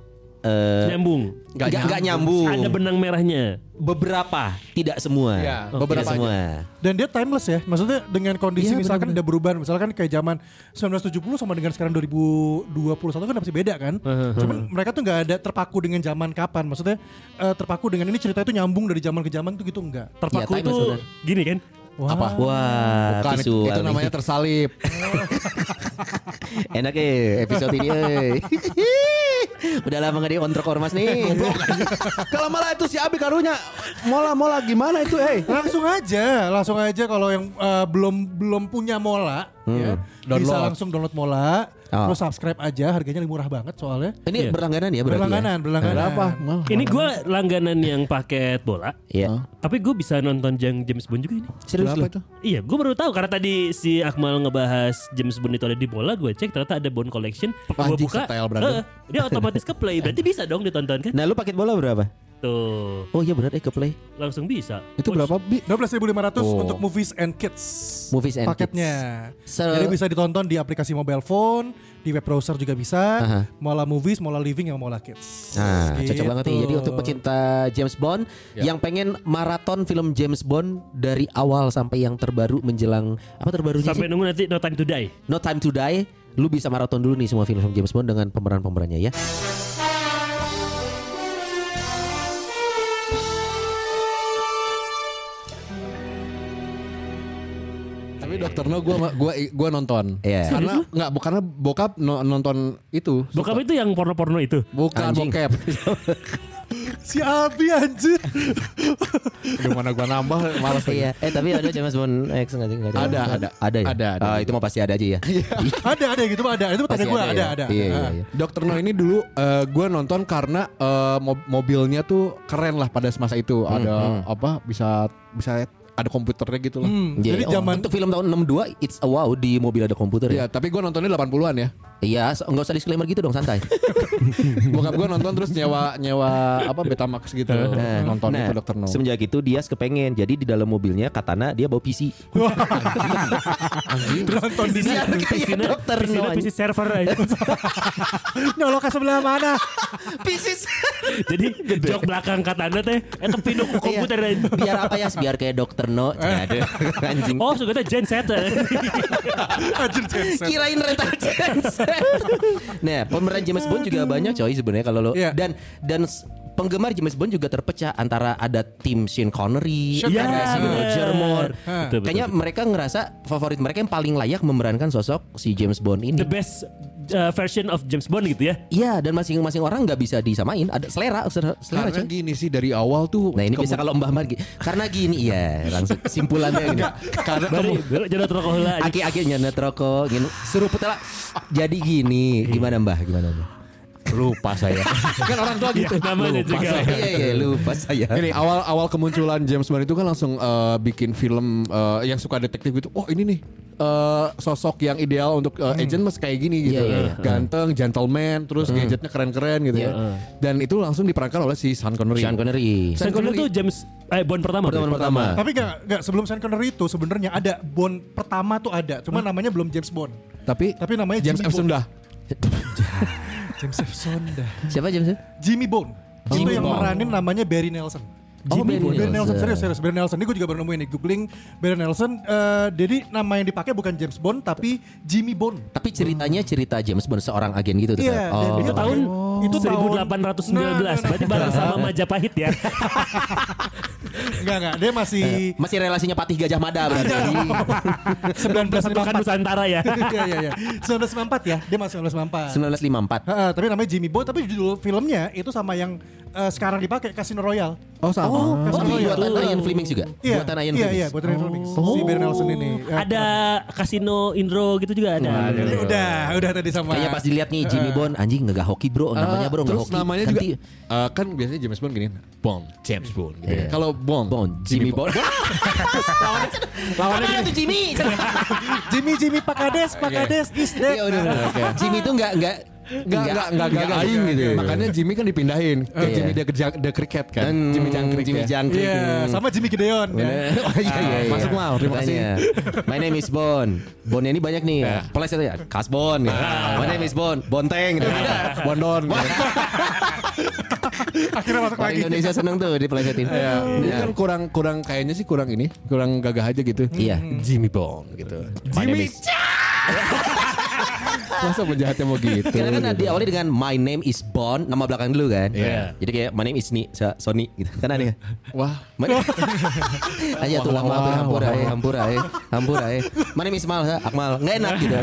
S2: eh
S5: Nyambung.
S2: nggak nggak
S4: Uh.
S2: nyambung.
S5: Ada benang merahnya.
S2: beberapa, tidak semua.
S3: Iya,
S2: Tidak
S3: beberapa
S2: semua.
S4: Dan dia timeless ya. Maksudnya dengan kondisi
S2: Iya,
S4: misalkan udah berubah, misalkan kayak zaman 1970 sama dengan sekarang 2021 kan masih beda kan. Cuman mereka tuh nggak ada terpaku dengan zaman kapan. Maksudnya eh, terpaku dengan ini cerita itu nyambung dari zaman ke zaman tuh gitu enggak.
S2: Iya,
S5: Terpaku
S2: time
S5: itu
S2: maksudnya.
S5: gini kan.
S4: Wah.
S3: Apa?
S2: Wah,
S3: Bukan,
S2: visual
S3: itu
S2: nih.
S3: namanya tersalip
S2: Enak ya episode ini eh. Udah lama gak diontrok ormas nih
S3: Kalau malah itu si Abi karunya Mola mola gimana itu eh
S4: langsung aja langsung aja kalau yang eh, belum belum punya mola ya, bisa
S3: Download.
S4: langsung download mola
S2: Oh.
S4: terus subscribe aja harganya murah banget soalnya
S2: Ini berlangganan ya berarti
S4: Iya. berlangganan berlangganan
S3: Berapa? Mal.
S4: Oh,
S5: Ini gue langganan yang paket bola.
S2: ya? Iya
S5: Tapi gue bisa nonton yang James Bond juga ini.
S2: Serius
S3: Berapa
S2: lu?
S3: itu?
S5: Iya, gue baru tahu karena tadi si Akmal ngebahas James Bond itu ada di bola, gue cek ternyata ada Bond Collection. Gue
S3: Anjing,
S5: buka,
S3: setel, brother.
S5: eh, dia otomatis ke play, berarti bisa dong ditonton kan?
S2: Nah lu paket bola berapa?
S5: Tuh,
S2: Oh iya benar eh ke play
S5: langsung bisa.
S3: Itu berapa bi?
S4: 12.500
S3: Oh.
S4: untuk movies and kids
S2: Movies and
S4: paketnya
S2: Se-
S4: jadi bisa ditonton di aplikasi mobile phone di web browser juga bisa
S2: Aha.
S4: mola movies mola living yang mola kids
S2: Nah
S4: Gitu.
S2: cocok banget nih Jadi untuk pecinta James Bond
S4: Iya.
S2: Yang pengen maraton film James Bond Dari awal sampai yang terbaru menjelang Apa terbarunya
S5: Sampai
S2: sih?
S5: nunggu nanti No Time to Die.
S2: No Time to Die Lu bisa maraton dulu nih semua film-film James Bond Dengan pemeran-pemerannya ya
S3: Tapi dokter no gue gua gua nonton.
S2: Iya.
S3: Karena nggak bu- karena bokap no- nonton itu.
S5: Bokap itu yang porno-porno itu.
S3: Bukan
S2: Anjing.
S3: bokep.
S4: si Abi anjir
S3: Gimana gua nambah malas
S2: Iya. Eh tapi ada James Bond X nggak sih? Nggak
S3: Ada, ada.
S2: Ada ya?
S3: Ada, ada.
S2: Ah, itu mah pasti ada aja ya.
S4: ada ada gitu ada itu tanya
S2: Pasti
S4: gue
S2: ada
S4: ada
S2: ya.
S4: ada
S2: Iya,
S4: Ah.
S2: iya, iya.
S3: Dokter No ini dulu eh, gua nonton karena eh, mob- mobilnya tuh keren lah pada semasa itu. Ada apa bisa bisa ada komputernya gitu lah.
S4: Hmm,
S2: Iya,
S4: jadi
S2: oh,
S4: zaman
S2: untuk film tahun 62 It's a wow di mobil ada komputer ya.
S3: Iya, tapi gua nontonnya 80-an ya.
S2: Iya, so- nggak usah disclaimer gitu dong santai.
S3: Bokap gue nonton terus nyewa nyewa apa Betamax gitu nonton itu Dokter No.
S2: nah, Semenjak Eh, itu dia kepengen. Jadi di dalam mobilnya Katana dia bawa PC.
S5: Nonton di
S2: Siapa Iya, kayak dokter
S5: PC
S2: no, anjing.
S5: PC server aja.
S4: Nyolok ke sebelah mana?
S5: Jadi jok belakang kata anda teh Itu pindah ke
S2: Iya.
S5: komputer aja.
S2: Biar apa ya? Biar kayak dokter no. Cina ada anjing.
S5: Oh sudah genset
S2: Kirain rental genset. nah, pemeran James Bond juga banyak coy sebenarnya kalau lo
S4: Iya.
S2: dan dan s- penggemar James Bond juga terpecah antara ada tim Sean Connery,
S5: Iya,
S2: ada si
S5: bener.
S2: Roger Moore.
S5: Betul, betul,
S2: Kayaknya
S5: betul.
S2: mereka ngerasa favorit mereka yang paling layak memerankan sosok si James Bond ini.
S5: The best uh, version of James Bond gitu ya
S2: Iya, dan masing-masing orang nggak bisa disamain. Ada selera, selera, selera
S3: Karena
S2: coy.
S3: gini sih dari awal
S2: ya?
S3: tuh.
S2: Nah ini
S3: kemu-
S2: bisa kalau Mbah Mbah gini. Karena gini ya langsung simpulannya gini. Karena
S5: Baru baru jodoh terokok lah aja.
S2: aki-aki nyenet rokok gini. Suruh putela. Jadi gini, gimana Mbah? Gimana Mbah?
S3: lupa saya. kan orang tua gitu.
S5: Namanya
S3: Lupa
S5: juga
S3: saya.
S2: Iya iya lupa saya.
S3: Ini awal awal kemunculan James Bond itu kan langsung eh, bikin film eh, yang suka detektif gitu. Oh ini nih eh, sosok yang ideal untuk eh, agent mas kayak gini
S2: Iya,
S3: gitu.
S2: Hmm. iya, Hmm. iya.
S3: Ganteng, gentleman, terus gadgetnya keren-keren gitu ya. Dan itu langsung diperankan oleh si Sean Connery.
S2: Iya. Sean Connery.
S5: Sean Connery tuh James eh, Bond pertama.
S2: Pertemuan
S5: berarti?
S2: pertama.
S4: Tapi gak, gak sebelum Sean Connery itu sebenarnya ada Bond pertama tuh ada, cuma
S2: Hmm?
S4: namanya belum James Bond.
S3: Tapi
S4: Tapi namanya
S3: James
S4: Jimmy Bond.
S3: F. Sunda.
S4: James F. Sonda.
S2: Siapa James?
S4: Jimmy Bond. itu
S2: Jimmy
S4: yang
S2: Bond.
S4: meranin namanya Barry Nelson.
S2: Oh, Barry
S4: Barry
S2: Nelson.
S4: Nelson. serius serius Barry Nelson ini gue juga baru nemuin nih googling Barry Nelson eh, jadi nama yang dipakai bukan James Bond tapi Jimmy Bond
S2: Tapi ceritanya cerita James Bond seorang agen gitu. tuh, Seth.
S4: Iya, dan
S2: Oh.
S5: Itu tahun
S4: Itu tahun- Nah,
S5: 1819.
S4: nah, nah.
S5: Berarti bareng sama Majapahit ya.
S4: enggak enggak dia masih
S2: Masih relasinya Patih Gajah Mada berarti.
S4: 1994
S5: 1994 Nusantara ya.
S4: Iya iya iya 1994 ya dia masih 1994
S2: 1954.
S4: Heeh, tapi namanya Jimmy Bond tapi judul filmnya itu sama yang eh, sekarang dipakai Casino Royale
S3: Oh sama.
S2: Oh,
S4: Casino Royale.
S2: buatan Ian Fleming juga.
S4: Iya,
S2: Buatan Oh. Ian
S4: iya,
S2: Fleming.
S4: iya, buatan Ian Fleming. Si Barry Nelson ini. Ya,
S5: Ada kasino Indro gitu juga ada.
S4: Ya, udah, udah tadi sama.
S2: Kayaknya pas dilihat nih Jimmy Bond anjing nggak hoki bro namanya bro nggak
S3: Ah, terus
S2: hoki.
S3: namanya
S2: Ganti
S3: juga eh, kan biasanya James Bond gini Bond James Bond gitu
S2: Iya.
S3: ya. kalau Bond
S2: Bond Jimmy Bond. Lawannya itu Jimmy.
S4: Jimmy Jimmy Pak Kades, Pak Kades is dead.
S2: Iya udah udah. Jimmy itu nggak nggak
S3: Enggak, enggak, enggak, enggak,
S2: nggak
S3: aing gitu.
S2: ya.
S3: Makanya Jimmy kan dipindahin ke
S2: Iya.
S3: Jimmy the, Jang- the Cricket kan.
S2: Hmm,
S3: Jimmy Jangkrik
S2: Jimmy
S3: ya.
S2: Jangkrik.
S4: Iya, sama Jimmy Gideon. ya.
S2: Bener. Oh, iya, iya, iya.
S3: Masuk mal, terima kasih.
S2: Makanya. My name is Bon. Bonnya ini banyak nih. Pleset ya. Kas Bon. gitu. My name is Bon. Bonteng. gitu.
S3: Bondon.
S4: Akhirnya masuk
S2: Orang
S4: lagi.
S2: Indonesia seneng tuh dipelesetin.
S3: Ini
S2: Iya.
S3: kan kurang kurang kayaknya sih kurang ini, kurang gagah aja gitu.
S4: Hmm.
S2: Iya.
S3: Jimmy Bond gitu.
S2: My name is-
S3: Masa penjahatnya mau gitu.
S2: Karena kan diawali dengan my name is Bon, nama belakang dulu kan.
S3: Iya.
S2: Jadi kayak my name is Ni, Sa- Sony gitu. Kan aneh. kan?
S3: Wah,
S2: My- Aja tuh
S3: Wah,
S2: lama
S3: wah,
S2: hampura
S3: wah.
S2: eh, hampura eh, hampura eh. My name is Mal, ha? Akmal. Nggak enak gitu.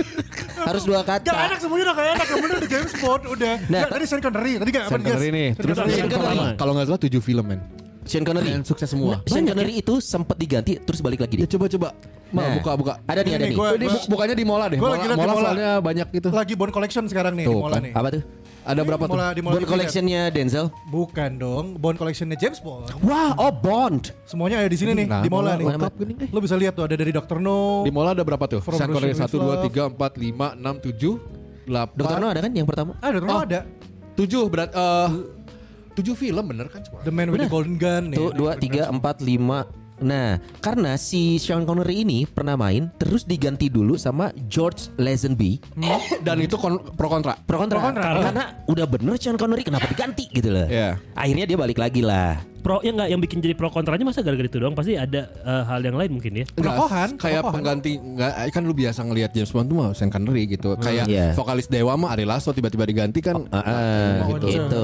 S2: Harus dua
S4: Gak enak
S2: kata.
S4: semuanya udah gak enak. Yang bener udah James Bond udah.
S2: Nah,
S4: Gak, tadi Sean Connery. Tadi gak apa
S3: Sean Connery nih. Terus
S5: Sean
S3: yang
S2: Connery.
S3: pertama, kalau nggak salah 7 film men.
S2: Sean Connery.
S3: Dan sukses semua.
S2: Sean Connery itu sempat diganti terus balik lagi
S3: Ya
S2: dia.
S3: coba-coba.
S2: Nah.
S3: Mal buka-buka.
S2: Ada nih,
S4: Ini
S2: ada
S4: nih,
S2: nih.
S4: gua-
S3: Ini bu- bukannya di Mola deh.
S4: Gua
S3: Mola,
S4: lagi liat di
S3: Mola
S4: Mola.
S3: soalnya banyak gitu.
S4: Lagi Bond Collection sekarang nih. di
S3: Tuh,
S4: Mola
S3: kan.
S4: nih.
S2: Apa tuh?
S3: Ada berapa tuh?
S4: Mola, di Mola
S2: Bond
S4: TV.
S2: collectionnya Denzel.
S4: Bukan dong. Bond Collectionnya James Bond.
S2: Wah, oh Bond.
S4: Semuanya ada di sini nih.
S3: Nah,
S4: di Mola
S3: Mola
S4: nih.
S3: lengkap gini nih.
S4: Lo bisa lihat tuh. Ada dari Dr. No.
S3: Di Mola ada berapa tuh? ya,
S4: From
S3: Sean Connery
S4: Russia
S3: 1,
S4: with Love.
S3: 2, 3, 4, 5, 6, 7, 8,
S2: Dokter No ada kan yang pertama?
S4: Ah, Dr.
S3: Oh.
S4: No ada.
S3: 7 berat eh 7 film bener kan semua?
S4: The Man with the Golden Gun. nih.
S2: Satu, dua, tiga, empat, lima. Nah, karena si Sean Connery ini pernah main, terus diganti dulu sama George Lazenby.
S4: Hmm.
S3: Dan itu kon- pro kontra.
S2: Pro kontra.
S4: Pro kontra.
S2: Karena udah bener Sean Connery kenapa diganti gitu loh.
S3: Iya.
S2: Akhirnya dia balik lagi lah.
S5: Pro yang enggak yang bikin jadi pro kontranya masa gara-gara itu doang pasti ada eh, hal yang lain mungkin ya.
S3: Enggak,
S4: Perokohan,
S3: kayak
S4: perokohan.
S3: pengganti enggak kan lu biasa ngelihat James Bond tuh mah Sean Connery gitu.
S4: Hmm.
S3: Kayak
S2: Iya.
S3: vokalis Dewa mah Ari Lasso tiba-tiba diganti
S4: Oh,
S3: kan.
S2: Ah, ah, gitu.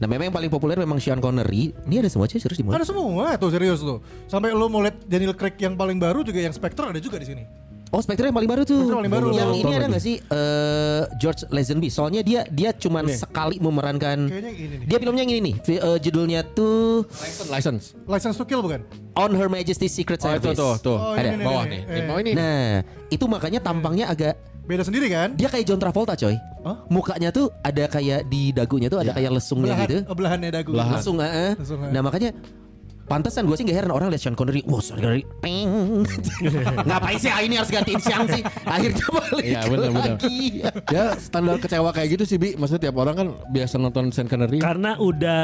S2: Nah, memang yang paling populer memang Sean Connery. Ini ada semua aja serius di mana?
S4: Ada semua tuh serius tuh. Sampai lo mau lihat Daniel Craig yang paling baru juga yang Spectre ada juga di sini.
S3: Hmm.
S2: Oh, Spectre yang paling baru tuh.
S4: Spectre paling baru.
S2: Yang
S4: Belum
S2: ini ada nggak sih eh, George Lazenby? Soalnya dia dia cuman sekali memerankan.
S4: Kayaknya yang ini nih.
S2: Dia filmnya yang ini nih. Fi- eh, judulnya tuh
S3: License, license.
S4: License to Kill bukan?
S2: On Her Majesty's Secret
S3: Oh, itu
S2: Service.
S3: tuh, tuh.
S4: Oh,
S2: Ada.
S4: ini, ini,
S3: Bawah
S4: ini.
S3: nih.
S4: Eh.
S3: Mau ini.
S2: Nah, itu makanya tampangnya agak
S4: Beda sendiri kan?
S2: dia kayak John Travolta, coy.
S4: Hah?
S2: Mukanya tuh ada kayak di dagunya tuh ada kayak lesungnya
S4: Belahan,
S2: gitu.
S4: belahannya dagu.
S2: Lesung, heeh.
S4: Lesung, heeh.
S2: Nah, makanya Pantesan gue sih gak heran orang lihat Sean Connery, wah Sean Connery, ping. Ngapain sih ah ini harus gantiin siang sih? Akhirnya balik
S3: Iya, bener, bener.
S2: lagi.
S3: Ya standar kecewa kayak gitu sih Bi Maksudnya tiap orang kan biasa nonton Sean Connery
S5: Karena udah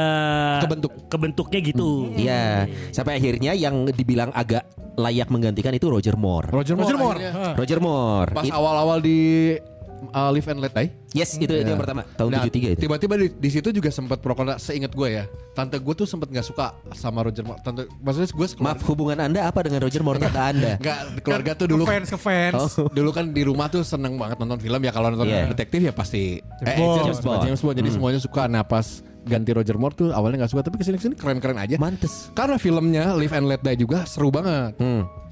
S3: Iya. Kebentuk. Hmm.
S5: kebentuknya gitu.
S2: Iya, sampai akhirnya yang dibilang agak layak menggantikan itu Roger Moore.
S3: Roger Moore,
S4: Roger Moore.
S3: akhirnya.
S4: Hah.
S2: Roger Moore.
S3: Pas
S2: It-
S3: awal-awal di uh, Live and Let Die
S2: yes, itu, itu yang pertama tahun
S3: Nah,
S2: 73 itu.
S3: Tiba-tiba di, di situ juga sempat pro kontra seingat gue ya. Tante gue tuh sempat nggak suka sama Roger Moore. Tante maksudnya gue
S2: Maaf, hubungan Anda apa dengan Roger Moore kata Anda?
S3: Enggak, keluarga tuh dulu
S4: Fans ke fans.
S2: Oh.
S3: dulu kan di rumah tuh seneng banget nonton film ya kalau nonton
S2: Iya. Hmm.
S3: detektif ya pasti
S4: James Bond.
S3: James Bond. James Bond. Jadi semuanya suka. Nah pas ganti Roger Moore tuh awalnya nggak suka tapi kesini kesini keren-keren aja.
S2: Mantes. Hmm.
S3: Karena filmnya Live and Let Die juga seru banget.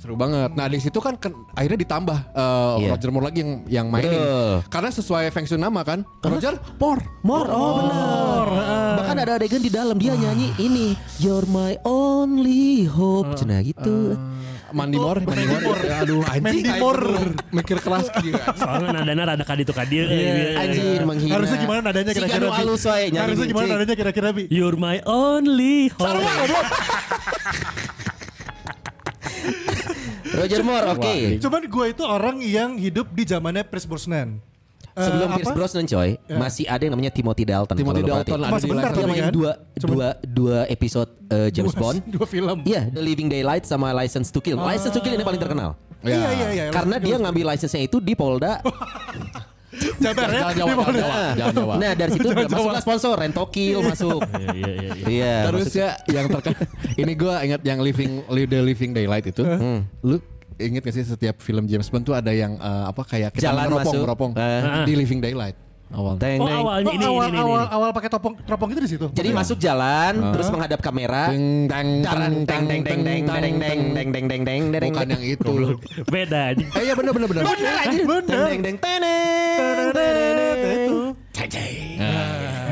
S3: Seru banget. Nah di situ kan ken- akhirnya ditambah uh,
S2: Iya.
S3: Roger Moore lagi yang yang mainin.
S2: Betul.
S3: Karena sesuai feng shui nama kan. Roger Moore.
S2: Moore, oh, benar. Bahkan ada adegan di dalam dia nyanyi ini, You're my only hope. Nah gitu.
S3: Mandi Moore, Mandi Moore. Ya, Aduh anjing.
S4: Mandy Moore.
S3: Mikir keras gitu.
S5: Soalnya nadana rada kadi tuh kadir.
S3: Iya,
S5: Iya.
S2: Anjir menghina.
S4: Harusnya gimana nadanya
S2: Si
S4: kira-kira
S2: Ganu
S4: Bi?
S2: alus wae, nyari eh. Iya.
S4: Harusnya gimana
S2: kucing.
S4: nadanya kira-kira Bi?
S5: You're my only hope.
S2: Roger Moore, oke.
S4: Cuman gue itu orang yang hidup di zamannya Pierce Brosnan. Eh,
S2: Sebelum
S4: apa? Ya.
S2: Pierce Brosnan coy, masih ada yang namanya Timothy Dalton.
S3: Timothy
S2: kalau lu
S3: Dalton
S2: perhatiin.
S3: ada
S4: Cuma
S3: di
S4: sebentar
S3: Live
S2: Dia
S4: tapi
S2: main
S4: kan.
S2: dua
S4: Cuman
S2: dua dua episode eh, James
S4: dua-
S2: Bond.
S4: Dua film.
S2: Iya, The Living Daylight sama License to
S4: Ah.
S2: Kill. License to Kill ini paling terkenal.
S3: Iya.
S4: Iya iya iya.
S2: Karena dia ngambil license-nya itu di Polda.
S4: Oh, Jabar ya.
S3: Jangan Jawa,
S4: Di Polda.
S3: jangan Jawa, jangan Jawa.
S2: Nah, dari situ udah masuklah sponsor Rentokil masuk.
S5: Iya, iya, iya, iya.
S2: Iya.
S3: Terus
S2: masuk.
S3: ya yang terkenal ini gua ingat yang living Li- the living daylight itu.
S2: Hmm.
S3: Lu inget gak sih setiap film James Bond tuh ada yang eh, apa kayak
S2: Jalan
S3: meropong,
S2: masuk.
S3: meropong
S2: Eh.
S3: di living daylight awal.
S2: Teng,
S5: Oh
S2: teng.
S5: awalnya
S4: Oh,
S5: ini
S4: awal,
S5: ini ini.
S4: awal,
S5: ini.
S4: awal pakai topong teropong itu di situ. Iya.
S2: Jadi masuk jalan, terus menghadap kamera.
S3: Teng teng
S2: Jalan, teng, teng, teng, teng, teng, teng, teng, teng, teng, teng, teng.
S3: Bukan yang itu.
S5: Beda anjing.
S3: Eh iya bener bener bener.
S2: Bener, anjir.
S4: Bener.
S2: Teng, teng, teng, teng, teng, teng. Ceng, ceng.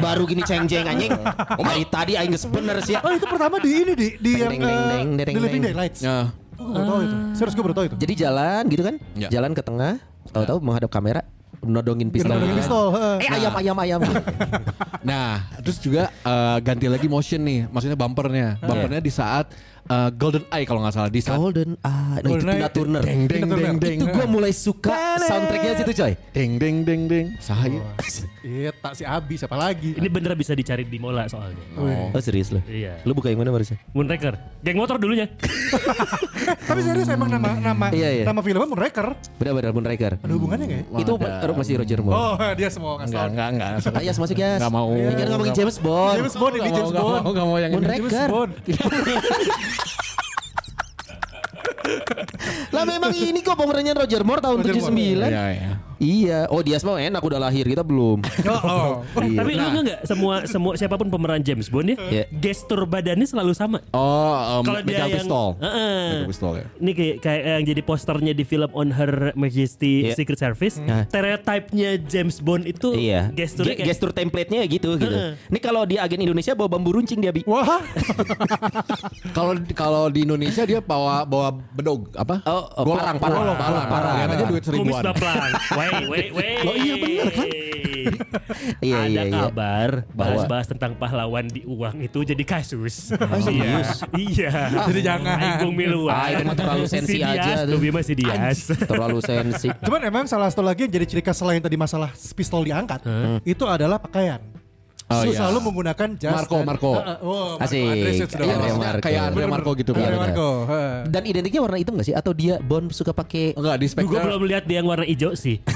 S2: Baru gini ceng ceng anjing. Dari tadi aing geus bener sih.
S4: Oh itu pertama di ini di di
S2: Deng, deng,
S4: yang
S2: deng, deng,
S4: eh,
S2: deng,
S4: di Living
S2: deng.
S4: Daylights.
S3: Nah,
S4: Gue baru tahu itu. Serius gue baru tahu itu.
S2: Jadi jalan gitu kan?
S3: Ya.
S2: Jalan ke tengah, tahu-tahu menghadap kamera, nodongin pistol.
S4: Nodongin pistol, heeh.
S2: Eh ayam ayam ayam.
S3: nah, terus juga eh, ganti lagi motion nih, maksudnya bumpernya. Bumpernya di saat eh, Golden Eye kalau nggak salah di saat
S2: Golden ah, nah itu
S4: Golden
S2: Tina
S4: Eye.
S2: Turner.
S3: deng deng deng deng.
S2: Itu gue mulai suka soundtracknya situ coy.
S3: deng deng deng deng.
S2: Oh.
S3: Sahaya.
S4: Iya tak si Abi siapa lagi?
S5: Ini bener bisa dicari di mola soalnya.
S2: Oh serius lo?
S5: Iya.
S2: Lu buka yang mana barusan?
S5: Moonraker. Geng motor dulunya.
S4: Eh, Tapi serius emang nama nama
S2: Iya, iya.
S4: nama filmnya Moonraker.
S2: Benar-benar Moonraker.
S4: Ada hubungannya nggak? ya?
S2: Itu
S3: Wadah.
S2: masih Roger Moore.
S4: Oh dia semua ngasih
S3: Enggak
S4: tahu.
S3: enggak enggak.
S2: Ayas masuk ya.
S3: Nggak mau.
S2: Ini kan ngomongin James Bond.
S4: James Bond ini
S3: Nggak mau,
S4: James
S3: nggak
S4: Bond.
S3: mau, nggak mau yang ini.
S2: Moonraker.
S4: Bond.
S2: Lah memang ini kok pemerannya Roger Moore tahun
S4: Roger
S2: 79.
S4: Moore.
S3: Iya iya.
S2: Iya, oh Dias mau enak udah lahir, kita belum.
S4: Oh,
S3: Iya.
S5: Eh, Tapi lu
S3: Nah.
S5: enggak enggak semua semua siapapun pemeran James Bond ya,
S2: Iya.
S5: gestur badannya selalu sama.
S3: Oh, um,
S5: Kalau dia
S3: Metal
S5: yang
S3: Pistol.
S5: Heeh.
S3: Metal Pistol ya.
S5: Ini kayak, kayak yang jadi posternya di film On Her Majesty
S2: Iya.
S5: Secret Service.
S2: Hmm.
S5: Stereotipnya James Bond itu
S2: Iya.
S5: gesturnya
S2: Ge-
S5: kayak
S2: gestur template-nya gitu gitu. Ini kalau di agen Indonesia bawa bambu runcing dia bi.
S4: wah.
S3: Kalau kalau di Indonesia dia bawa bawa bedog apa?
S2: Oh, oh, parang, parang.
S3: parang, parang,
S2: Parang.
S3: Lihat aja duit
S5: kumis
S3: seribuan.
S5: baplang. Wey, wey, wey.
S2: Oh, iya, bener kan? Iya,
S5: Ada
S2: iya, iya.
S5: kabar
S2: Bahwa- Oh,
S5: bahas-bahas tentang pahlawan di uang itu jadi kasus.
S2: serius?
S5: iya.
S4: Jadi jangan.
S5: Agung Miluan.
S2: Ah, itu mah terlalu sensi
S5: si Dias,
S2: aja tuh.
S5: Tuh Bima si Dias.
S2: Terlalu sensi.
S4: Cuman emang salah satu lagi yang jadi ciri khas selain tadi masalah pistol diangkat, itu adalah pakaian.
S3: Oh,
S4: Su
S3: iya.
S4: selalu menggunakan jas
S3: Marco,
S4: dan-
S3: Marco.
S4: Eh, eh, oh, Marco
S2: Asik.
S4: Andres Yates dong.
S2: Andrea
S4: Andrea
S3: Iya, maksudnya
S2: Marco. iya,
S3: kayak Andrea Marco gitu kan.
S2: Andrea
S4: Ah, Marco. eh.
S2: Dan identiknya warna hitam gak sih? Atau dia Bond suka pakai?
S3: Enggak di
S5: Gue
S3: Spectre.
S5: belum lihat dia yang warna hijau sih.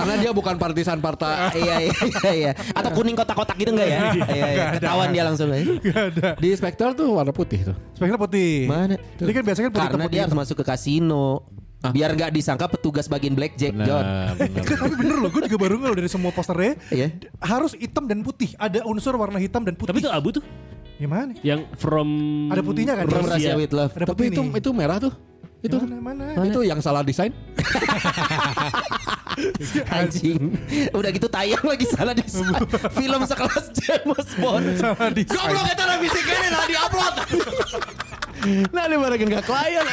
S3: Karena dia bukan partisan partai. Eh,
S2: iya, iya, iya, iya. Atau kuning kotak-kotak gitu enggak ya? Iya, iya. Ketahuan dia langsung.
S4: Gak ada.
S3: Di Spectre tuh warna putih tuh.
S4: Speknya putih.
S2: Mana?
S4: Ini kan biasanya kan Ah. putih
S2: Karena
S4: hitam,
S2: dia harus
S4: putih.
S2: masuk ke kasino. Biar nggak disangka petugas bagian blackjack, John.
S3: benar.
S4: Tapi bener loh, gue juga baru ngeluh dari semua posternya.
S2: Iya.
S4: D- Harus hitam dan putih. Ada unsur warna hitam dan
S5: Tapi
S4: putih.
S5: itu abu tuh
S4: Gimana?
S5: yang from
S4: Ada putihnya kan?
S2: From
S5: Rusia.
S2: Russia with Love.
S4: Ada
S3: Tapi
S4: putih
S3: itu
S4: nih.
S3: itu merah tuh. Itu
S4: Yang mana? mana?
S3: itu yang salah desain.
S2: Anjing. Udah gitu tayang lagi salah di film sekelas James Bond.
S4: Salah desain.
S2: Goblok itu lebih segini lah di upload.
S3: Nah, dia mereka enggak klien.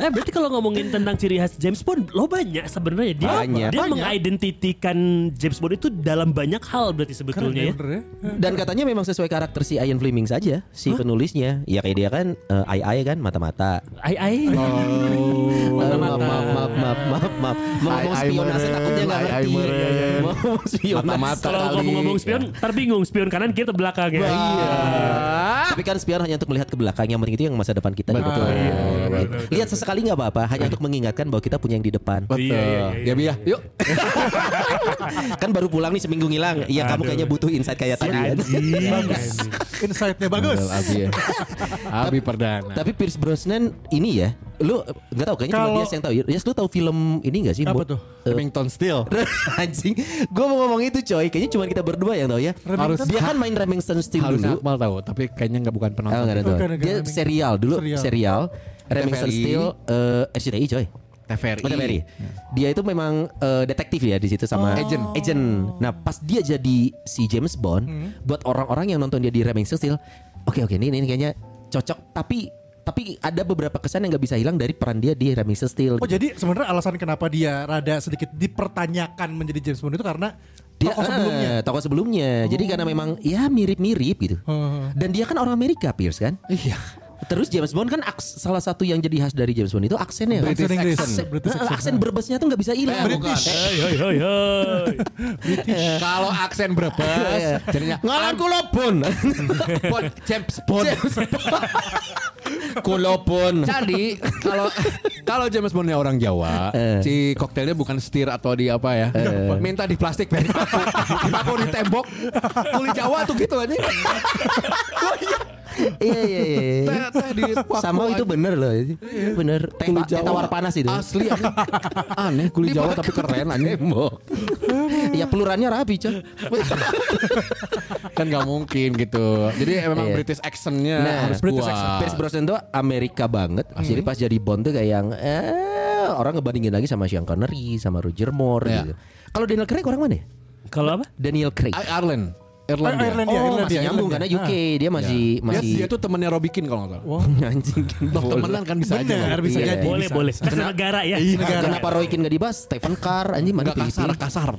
S5: Eh berarti kalau ngomongin tentang ciri khas James Bond, lo banyak sebenarnya dia
S2: Banyak.
S5: dia
S4: Banyak.
S5: mengidentitikan James Bond itu dalam banyak hal berarti
S4: Keren
S5: sebetulnya
S4: ya
S5: ya.
S4: bener ya.
S2: Dan katanya memang sesuai karakter si Ian Fleming saja si penulisnya. Ya kayak dia kan eh, ai ai kan mata-mata.
S5: Ai ai.
S4: Oh,
S2: Maaf maaf maaf maaf maaf maaf. maaf. Mau ngomong
S3: Ai-ai
S2: spionase
S3: meren,
S2: takutnya nggak
S3: ai-ai
S2: ngerti. Iya,
S3: meren.
S2: Mau ngomong spionase.
S3: Mata-mata.
S5: Kalau
S3: Kali.
S5: ngomong-ngomong spion,
S4: Iya.
S5: ntar bingung spion kanan kiri atau belakang ya.
S2: Tapi kan spion hanya untuk melihat ke belakang Yang penting itu yang masa depan kita
S3: Betul.
S4: Iya,
S2: Gitu. Lihat sesekali nggak apa-apa Hanya untuk mengingatkan bahwa kita punya yang di depan
S3: Betul.
S5: Iya, iya,
S3: Ya
S5: iya,
S3: Bi ya, yuk.
S2: Kan baru pulang nih seminggu ngilang Iya kamu kayaknya butuh insight kayak tadi kan?
S5: Bagus.
S4: Insight-nya bagus.
S3: Betul, Abi ya. Abi perdana.
S2: Tapi Pierce Brosnan ini ya Lu eh, nggak tahu kayaknya cuma
S4: Kalau-
S2: dia yang tahu Yes lu tahu film ini nggak sih?
S4: Apa
S2: Bo-
S4: tuh?
S2: Eh,
S3: Remington Steel.
S2: Anjing Gue mau ngomong itu coy Kayaknya cuma kita berdua yang tahu ya
S3: Harus-
S2: Dia kan main Remington Steel
S3: Harus
S2: dulu
S3: Akmal tahu, tapi kayaknya nggak bukan
S2: Oh, nggak
S3: penonton.
S2: ada tahu.
S4: Bukan, bukan,
S2: Dia
S4: bukan.
S2: serial dulu
S4: Serial.
S2: Serial Remington
S3: TVRI.
S2: Steel eh, RCTI coy
S3: TVRI.
S2: Mata Berry. Dia itu memang eh, detektif ya di situ sama
S4: Oh.
S3: Agent.
S2: Agent. Nah, pas dia jadi si James Bond,
S4: Hmm.
S2: buat orang-orang yang nonton dia di Remington Steel, oke oke ini ini kayaknya cocok tapi tapi ada beberapa kesan yang nggak bisa hilang dari peran dia di Remington Steel.
S4: Oh jadi sebenarnya alasan kenapa dia rada sedikit dipertanyakan menjadi James Bond itu karena
S2: dia
S4: tokoh
S2: eh,
S4: sebelumnya. Oh.
S2: tokoh sebelumnya. Jadi karena memang ya mirip-mirip gitu.
S4: Hmm.
S2: Dan dia kan orang Amerika, Pierce kan? Iya. Terus James Bond kan aks- salah satu yang jadi khas dari James Bond itu aksennya. kan?
S4: British
S2: Aksen-
S4: English.
S2: aksen-
S4: British
S2: Nah, aksen berbesnya tuh nggak bisa hilang.
S5: Hei hei hei hei.
S3: Kalau
S2: Iya,
S3: aksen berbes, jadinya
S2: Ngalan
S3: Am-
S2: kula pun.
S3: Bond, James Bond.
S2: Kula pun.
S3: Jadi kalau kalau James Bondnya orang Jawa,
S2: Eh.
S3: si koktelnya bukan setir atau di apa ya, minta di plastik Ben. Dipaku di tembok, tuli Jawa tuh gitu aja.
S2: Iya iya iya.
S3: Teh, teh di paku
S2: Sama itu
S3: aja.
S2: bener loh. Bener. Teh,
S3: Kuli
S2: teh tawar panas itu.
S3: Asli aneh. aneh kuli Jawa tapi keren aneh.
S2: ya pelurannya rapi coy.
S3: kan nggak mungkin gitu. Jadi memang
S2: Iya.
S3: British accentnya
S2: Nah,
S3: harus
S2: British
S3: kuat.
S2: accent. Pierce Brosnan tuh Amerika banget. Jadi pas jadi Bond tuh kayak yang eh, orang ngebandingin lagi sama Sean Connery, sama Roger Moore
S3: Iya.
S2: gitu. Kalau Daniel Craig orang mana? ya?
S5: Kalau apa?
S2: Daniel Craig.
S3: I- Ireland,
S2: oh,
S4: Ireland.
S3: Irlandia.
S4: Eh, Irlandia,
S2: masih
S4: Irlandia, Ah,
S2: nyambung karena
S4: Irlandia.
S2: UK dia masih
S3: Ya. Dia,
S2: masih
S3: dia tuh temennya Robikin kalau nggak salah.
S2: anjing.
S3: Loh, temenan kan bisa aja.
S4: Bener,
S3: loh.
S4: bisa
S2: Iya.
S4: jadi.
S5: Boleh
S4: Eh, bisa. Iya,
S5: boleh. Kan negara ya.
S4: Negara.
S2: Kenapa Roy Keane gak dibahas? Stephen Carr anjing mana
S3: Nggak kasar,
S2: pilih-pilih.
S3: kasar.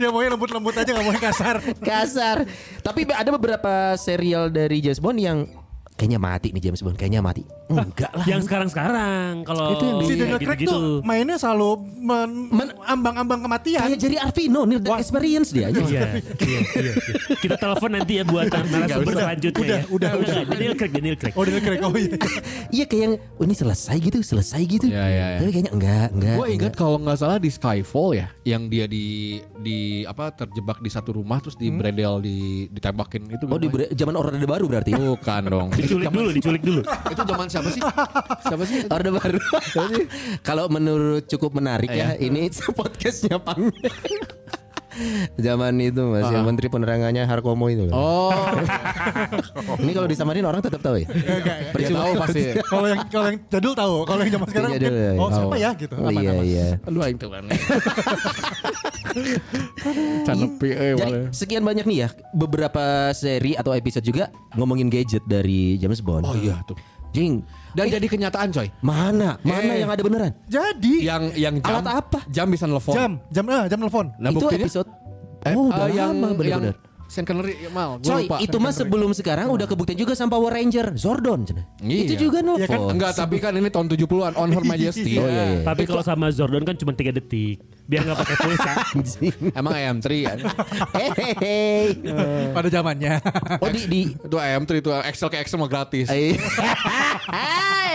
S4: Dia maunya Ya, lembut-lembut aja nggak mau yang kasar.
S2: kasar. Tapi ada beberapa serial dari James Bond yang kayaknya mati nih James Bond, kayaknya mati. Enggak lah.
S5: Yang sekarang-sekarang kalau
S2: Itu yang
S4: Si Daniel Craig
S5: Oh, iya, gitu-gitu.
S4: tuh mainnya selalu men- ambang-ambang kematian.
S2: Kayak Jerry Arvino nih the experience dia aja.
S5: Iya, iya, iya, iya. Kita telepon nanti ya buat narasumber selanjutnya
S4: udah,
S5: ya.
S4: udah, udah.
S5: nggak, Daniel Craig, Daniel Craig.
S4: Oh Daniel Craig, oh iya.
S2: Iya kayak yang oh, ini selesai gitu, selesai gitu.
S3: Iya, iya, iya.
S2: Tapi kayaknya enggak, enggak.
S3: Gue ingat
S2: enggak.
S3: kalau nggak salah di Skyfall ya, yang dia di di apa terjebak di satu rumah terus di bredel di ditembakin itu.
S2: Hmm. Oh di
S3: namanya?
S2: ber- zaman Orde Baru berarti.
S3: Bukan dong.
S5: Diculik dulu, diculik dulu.
S3: itu zaman siapa sih? Siapa sih?
S2: Orde Baru. Kalau menurut cukup menarik
S3: Iya.
S2: ya, ini podcastnya Pang. zaman itu Mas, yang Menteri Penerangannya Harkomo itu. loh.
S3: Ah. Oh, Iya,
S2: Ini kalau disamarin orang tetap tahu ya. Iya,
S3: dia tahu pasti. iya,
S4: Kalau yang kalau yang jadul tahu, kalau yang zaman sekarang
S2: Kayaknya
S4: mungkin,
S2: dulu ya.
S4: oh siapa ya gitu. Aman,
S2: Iya,
S4: aman.
S2: iya.
S3: Lu aing tuh aneh. Can nepi eh, euy
S2: Jadi
S3: malah.
S2: sekian banyak nih ya beberapa seri atau episode juga ngomongin gadget dari James Bond.
S3: Oh iya tuh.
S2: Jing,
S3: Dan jadi kenyataan coy.
S2: mana mana
S3: Eh.
S2: yang ada beneran?
S4: Jadi
S3: Yang yang jam
S2: Alat apa?
S3: Jam bisa nelfon.
S4: jam jam eh, jam telepon.
S3: Nah,
S2: itu
S3: buktinya-
S2: episode
S3: Eh,
S2: Oh,
S3: eh,
S2: udah
S3: yang
S2: lama bener-bener.
S3: yang Sean Connery ya, mal. gua
S2: Coy,
S3: lupa.
S2: itu mah sebelum sekarang udah kebuktian juga sama Power Ranger Zordon. cenah.
S3: Iya.
S2: Itu juga nelfon.
S4: Iya kan,
S3: Enggak, tapi kan ini tahun 70-an on Her Majesty.
S2: Oh, iya, iya.
S5: Tapi kalau sama Zordon kan cuma 3 detik. Dia nggak pakai pulsa.
S3: Emang AM3 ya?
S2: Hehehe.
S3: Eh.
S4: Pada zamannya.
S2: Oh di di
S3: Itu AM3 itu Excel ke Excel mah gratis.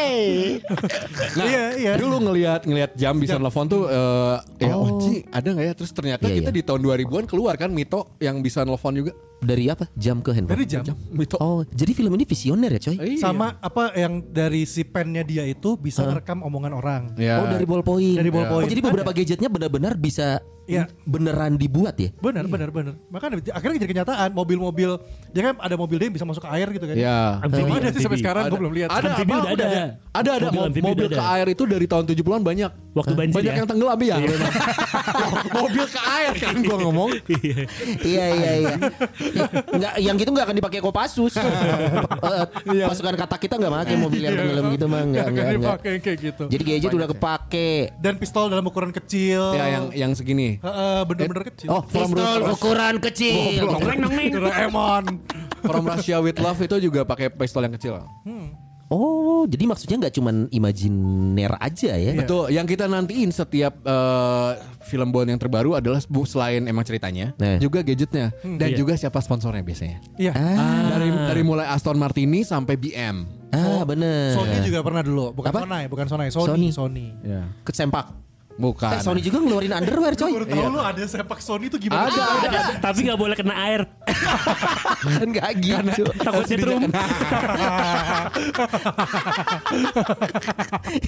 S2: Eh.
S3: Nah,
S4: Iya, iya.
S3: dulu ngelihat ngelihat jam bisa nelfon tuh eh, ya oh, Ji, ada nggak ya? Terus ternyata
S2: Iya,
S3: kita
S2: iya.
S3: di tahun 2000-an keluar kan Mito yang bisa nelfon juga.
S2: dari apa? Jam ke handphone.
S4: Dari jam.
S3: Mito.
S2: Oh, jadi film ini visioner ya, coy?
S3: Iya.
S4: Sama apa yang dari si pennya dia itu bisa merekam omongan orang.
S3: Ya.
S2: Oh dari ballpoint.
S4: Dari
S2: Oh
S4: ballpoint.
S2: jadi beberapa gadgetnya benar-benar bisa
S4: Iya.
S2: beneran dibuat ya?
S3: Iya.
S4: Benar, benar, benar. Makanya di- akhirnya jadi kenyataan mobil-mobil dia kan ada mobil dia yang bisa masuk ke air gitu kan.
S3: Ya.
S5: Amfibi,
S4: Belum ada sih sampai
S5: amfibi.
S4: sekarang gue belum lihat.
S3: Ada
S5: Amfibi
S3: apa?
S5: udah ada.
S3: Ada ada
S5: Mobil
S3: Mo-
S5: amfibi
S3: mobil,
S5: udah
S3: ke
S5: ada.
S3: air itu dari tahun 70-an banyak.
S5: Waktu banjir
S3: banyak
S5: ya?
S3: yang tenggelam ya. mobil ke air kan gua ngomong.
S2: iya iya iya. Nggak, yang gitu nggak akan dipakai Kopassus. Eh,
S4: Iya.
S2: Pasukan kata kita nggak pakai mobil yang tenggelam gitu mah nggak nggak nggak.
S4: dipakai kayak gitu.
S3: Iya,
S2: Jadi gadget udah kepake.
S4: Dan pistol dalam ukuran kecil.
S3: Ya yang yang segini.
S4: Heeh, bener-bener kecil. Iya.
S3: Oh, from Russia,
S2: ukuran kecil.
S4: Doraemon.
S3: from Russia with Love itu juga pakai pistol yang kecil.
S2: Oh, jadi maksudnya nggak cuman imajiner aja ya?
S4: Iya.
S3: Betul. Yang kita nantiin setiap eh, film Bond yang terbaru adalah bu- selain emang ceritanya,
S2: Eh.
S3: juga gadgetnya dan
S5: Iya.
S3: juga siapa sponsornya biasanya.
S4: Iya.
S3: Dari dari mulai Aston Martini sampai BM.
S2: Ah bener.
S4: Sony juga pernah dulu, bukan
S2: Apa?
S4: Sony, bukan Sony, Sony,
S2: Sony.
S4: Sony.
S2: Iya.
S3: Ya.
S2: kesempak.
S3: Bukan.
S2: Eh, Sony juga ngeluarin underwear coy.
S4: Iya, Baru tahu lu ada sepak Sony itu gimana?
S3: Ada, ada.
S5: Tapi nggak boleh kena air.
S2: kan nggak gitu.
S5: Takut setrum.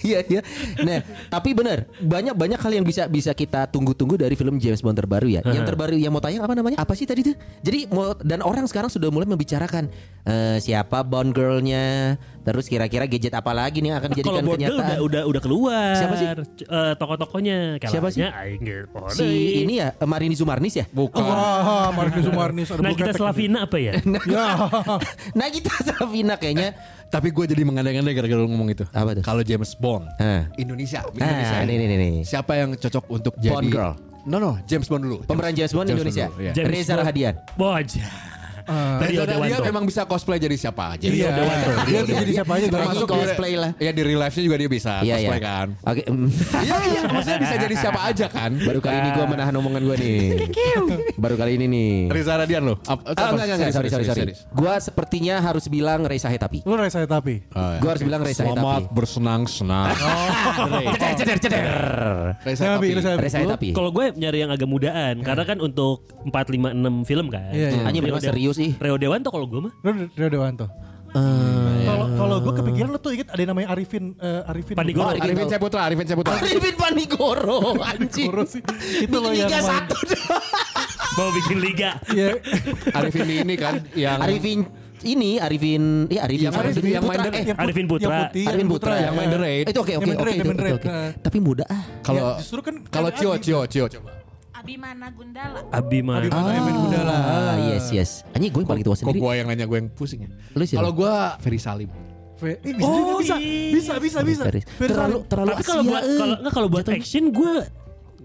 S2: Iya iya. Nah, tapi bener banyak banyak hal yang bisa bisa kita tunggu-tunggu dari film James Bond terbaru ya. Yang terbaru yang mau tayang apa namanya? Apa sih tadi tuh? Jadi mau dan orang sekarang sudah mulai membicarakan eh, siapa Bond girlnya, terus kira-kira gadget apa lagi nih yang akan
S5: Nah, Kalau
S2: dijadikan
S5: bordel
S2: kenyataan.
S5: udah udah udah keluar.
S2: kan Siapa sih?
S5: C- eh, tokoh-tokohnya.
S2: Siapa sih?
S5: Kalahnya Aing Gerpode.
S2: Si ini ya eh, Marini Zumarnis ya.
S3: Bukan.
S4: Wah, Marcus Sumarnis ada
S5: Nah
S4: blue
S5: kita
S4: capek
S5: Slavina apa ya?
S2: nah kita Safina kayaknya
S3: Tapi gue jadi mengandai-andai gara-gara lu ngomong itu.
S2: Apa tuh?
S3: Kalau James Bond,
S2: Ah.
S3: Indonesia,
S2: Ah, ini, ini, ini.
S3: Siapa yang cocok untuk jadi
S2: girl.
S3: No no, James Bond dulu.
S2: pemeran James Bond Indonesia.
S3: dulu, iya.
S5: James
S2: Reza
S5: Bond.
S2: Rahadian.
S5: Boja.
S3: Dan
S5: Rio
S3: dia
S5: Dewanto.
S3: memang bisa cosplay jadi siapa aja.
S4: Iya, dia bisa jadi siapa aja.
S2: Lagi
S3: Termasuk
S2: cosplay lah.
S3: Iya di real life-nya juga dia bisa
S2: ya. Iya iya.
S3: cosplay kan.
S2: Oke. mm.
S3: Iya iya, maksudnya bisa jadi siapa aja kan.
S2: Baru kali ini gue
S4: Ah.
S2: menahan omongan gue nih. Baru kali ini nih.
S3: Riza Radian loh.
S2: Ah, enggak, enggak, enggak, sorry, sorry, sorry. Gua sepertinya harus bilang Reza Hetapi.
S4: Lu rasa tapi.
S2: Gua harus bilang Reza Hetapi.
S3: Selamat bersenang-senang.
S2: Ceder, ceder, ceder.
S3: Oh, Reza
S4: Saya
S3: Tapi.
S4: ambil, saya ambil.
S2: Reza Hetapi.
S5: Kalau gue nyari yang agak mudaan karena kan untuk 4 5 6 film kan.
S4: Iya, iya.
S2: Hanya Nah. memang
S5: Rio De-
S2: serius ih.
S5: Rio Dewanto kalau gue mah.
S4: Lu Rio Dewanto.
S2: Eh.
S4: Kalau kalau gue kepikiran lu tuh inget ada yang namanya Arifin eh, Arifin.
S5: Pandigoro.
S2: Arifin
S3: Arifin Saputra, Arifin Saputra.
S2: Arifin Panigoro anjing.
S4: Panigoro sih. Itu
S2: Bikin
S4: loh yang
S2: Liga
S4: main.
S2: 1.
S5: Mau bikin liga.
S4: Iya.
S3: Arifin ini kan yang
S2: Arifin ini Arifin ya Arifin
S3: Yang
S2: sama
S3: Arifin-
S2: Arifin
S3: yang
S2: Putra.
S3: main
S2: Eh,
S3: the-
S4: Yang put-
S5: Arifin Putra.
S4: yang putih,
S2: Arifin Putra
S3: yang main The Raid.
S2: Itu oke
S4: Yang
S2: oke
S4: main The
S2: oke
S4: Raid,
S2: itu
S4: yang main
S2: oke,
S4: The
S2: oke.
S4: Raid.
S2: Tapi muda ah.
S3: kalau
S4: Ya, justru kan
S3: kalau
S4: ada
S3: Cio
S4: Adi.
S3: Cio Cio coba.
S7: Abimana Gundala.
S5: Abimana.
S4: Abimana. Yang main muda lah.
S2: Ah, yes yes. Anjing gue yang paling tua
S3: Kok
S2: sendiri.
S3: gue yang nanya gue yang pusing ya?
S2: Lu siapa?
S3: Kalau gue Ferry Salim.
S4: Fe- eh, bisa,
S5: Oh,
S4: bisa,
S5: iya.
S4: bisa, bisa, bisa,
S2: Garis.
S4: bisa.
S2: Terlalu terlalu
S5: Tapi kalau
S2: Asia,
S5: buat
S2: eh.
S5: kalau nggak kalau buat
S2: Jatuhnya.
S5: action gue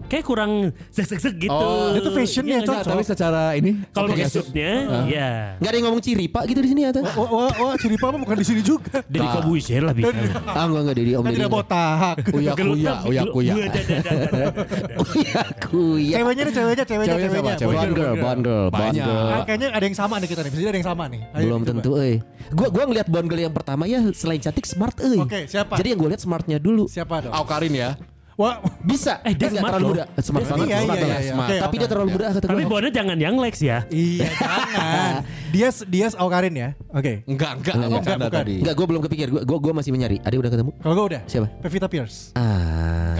S5: kayak kurang sek sek sek gitu.
S3: Oh,
S4: dia tuh fashion
S5: Iya
S4: ya,
S5: nggak
S4: Cok.
S5: sih?
S3: Tapi secara ini
S5: Kalau pakai
S3: aplikasi-
S5: suitnya,
S2: Ah.
S5: ya.
S2: Gak ada yang ngomong ciri pak gitu di sini atau?
S4: Wah, wah, wah, Ciri Pama oh, bukan di sini juga.
S5: Dari Corbusier lah bisa. lah.
S2: Ah enggak enggak Dedi om
S4: Kan
S2: Dedi.
S4: tidak botak.
S3: Uya
S2: ya,
S4: kan?
S3: Kuya,
S5: Gelut-
S3: Uya
S5: gelut- Iya,
S3: Kuya.
S5: Uya, dada, dada, dada.
S2: Kuya kuya.
S4: Ceweknya nih, ceweknya, ceweknya,
S3: Ceweknya siapa?
S4: ceweknya.
S3: Cewek.
S2: Bond girl, bond girl, bond
S3: Banyak.
S2: girl.
S4: Ah, kayaknya ada yang sama nih kita nih. Bisa jadi ada yang sama nih. Ayo,
S2: Belum
S4: coba.
S2: tentu eh. Gua gua ngelihat bond girl yang pertama ya selain cantik smart eh.
S4: Oke, siapa?
S2: Jadi yang gue lihat smartnya dulu.
S4: Siapa dong?
S3: Au Karin ya.
S4: Wah,
S2: Bisa.
S5: Eh, dia
S2: Kan nggak
S5: smart
S2: terlalu
S5: loh.
S2: muda. Smart banget.
S4: iya,
S2: smart
S4: iya,
S2: banget,
S4: iya,
S2: smart.
S4: oke,
S2: Tapi
S4: oke.
S2: dia terlalu muda kata
S5: Tapi
S2: gue.
S5: bonnya jangan yang Lex ya.
S4: iya jangan. Dia dia Aukarin ya. Oke.
S3: Enggak, enggak,
S4: enggak,
S3: bercanda
S4: bukan.
S3: tadi.
S2: Enggak, gue belum kepikir. Gue gue masih mencari. Ada udah ketemu?
S4: Kalau gue udah.
S2: Siapa?
S4: Pevita Pierce.
S2: Ah.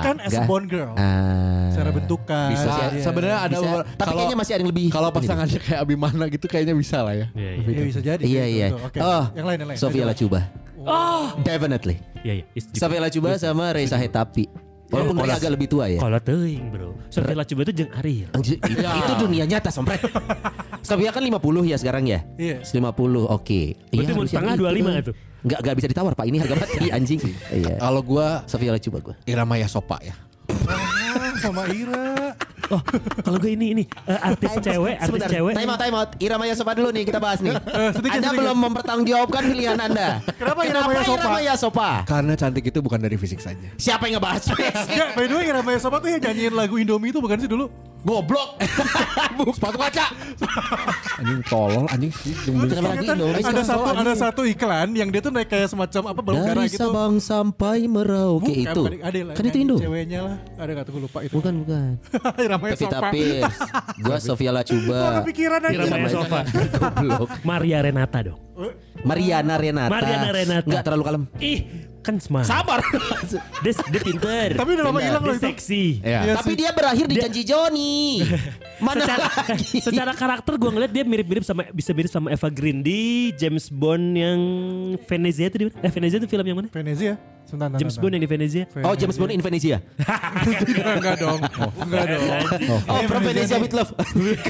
S4: Kan as a
S2: Nggak.
S4: Bond girl.
S2: Ah.
S4: Secara bentukan.
S3: Bisa.
S4: iya.
S3: Sebenarnya ada
S2: Bisa. Tapi
S3: kalau-
S2: kayaknya masih ada yang lebih.
S3: Kalau
S2: ini deh.
S3: pasangannya kayak Abimana gitu kayaknya bisa lah ya.
S5: Iya, iya.
S4: Iya bisa jadi.
S2: Iya
S4: Betul,
S2: iya.
S4: betul. Oke.
S2: Oh,
S4: Yang lain yang lain.
S2: Sofia
S4: Ayo,
S2: Lacuba. Oh, definitely.
S5: Iya, iya. Is-
S4: Gitu.
S5: di-
S2: Sofia Lacuba sama Reza Hetapi.
S4: Iya.
S2: Walaupun
S5: Kalau-
S2: mereka agak lebih tua ya.
S5: Kalau teuing, Bro. Sophia Lacuba itu jeung Ariel.
S2: Anjir, i-
S4: Iya.
S2: Itu dunia nyata sompret. Sofia kan 50 ya sekarang ya?
S4: Iya.
S2: 50 oke. Iya,
S5: Berarti mau setengah 25 tuh.
S2: Enggak enggak bisa ditawar Pak. Ini harga mati anjing. Iya.
S4: Oh.
S3: Kalau gue
S2: Sofia Lacuba gua.
S3: Irama Yasopa ya.
S4: Ah, sama Ira.
S5: Oh, kalau gue ini ini eh, artis cewek, artis
S2: Sebentar,
S5: cewek.
S2: Time out, time out. Irama Yasopa dulu nih kita bahas nih.
S4: sedikit,
S2: anda
S4: sedikit.
S2: belum mempertanggungjawabkan pilihan Anda.
S4: Eh, Kenapa Irama Yasopa?
S2: Irama Yasopa?
S3: Karena cantik itu bukan dari fisik saja.
S2: Siapa yang ngebahas?
S4: Enggak, by the way Ira Maya Sobat tuh yang nyanyiin lagu Indomie itu bukan sih dulu?
S3: Goblok. Sepatu kaca. anjing tolol anjing.
S2: Kenapa lagi
S4: Kan
S2: Indomie?
S4: ada satu ada satu iklan yang dia tuh naik kayak semacam apa balon
S2: Dari
S4: gitu.
S2: Sabang sampai Merauke
S4: Bukan,
S2: itu.
S4: bukan, ada lah,
S2: Kan itu
S4: nyanyi
S2: Indo.
S4: Ceweknya lah. Ada enggak tuh gue lupa itu.
S2: Bukan, bukan.
S4: Ira Maya
S2: Pevita
S4: Sobat.
S2: Pierce. Gua Sofia
S4: Gua
S2: Lacuba.
S4: kepikiran aja.
S5: Irama Yasopa.
S2: Goblok.
S5: Maria Renata dong.
S2: Mariana Renata.
S5: Mariana Renata.
S2: Enggak terlalu kalem.
S5: Ih, kan smart.
S2: Sabar.
S5: Dia, dia pinter.
S4: Tapi udah lama
S5: Pinter.
S4: hilang
S5: Dia
S4: loh itu.
S5: seksi.
S3: Iya.
S4: Iya
S2: Ya. Tapi
S4: sih.
S2: dia berakhir di janji Joni. Mana
S5: secara,
S2: lagi?
S5: secara karakter gue ngeliat dia mirip-mirip sama bisa mirip sama Eva Green di James Bond yang Venezia itu di mana? Eh Venezia itu film yang mana?
S4: Venezia. ya? Sebentar,
S5: James Bond ya? yang di Venezia.
S2: Oh James Bond in Venesia.
S4: Enggak dong. Enggak dong.
S2: Oh From Venesia with Love.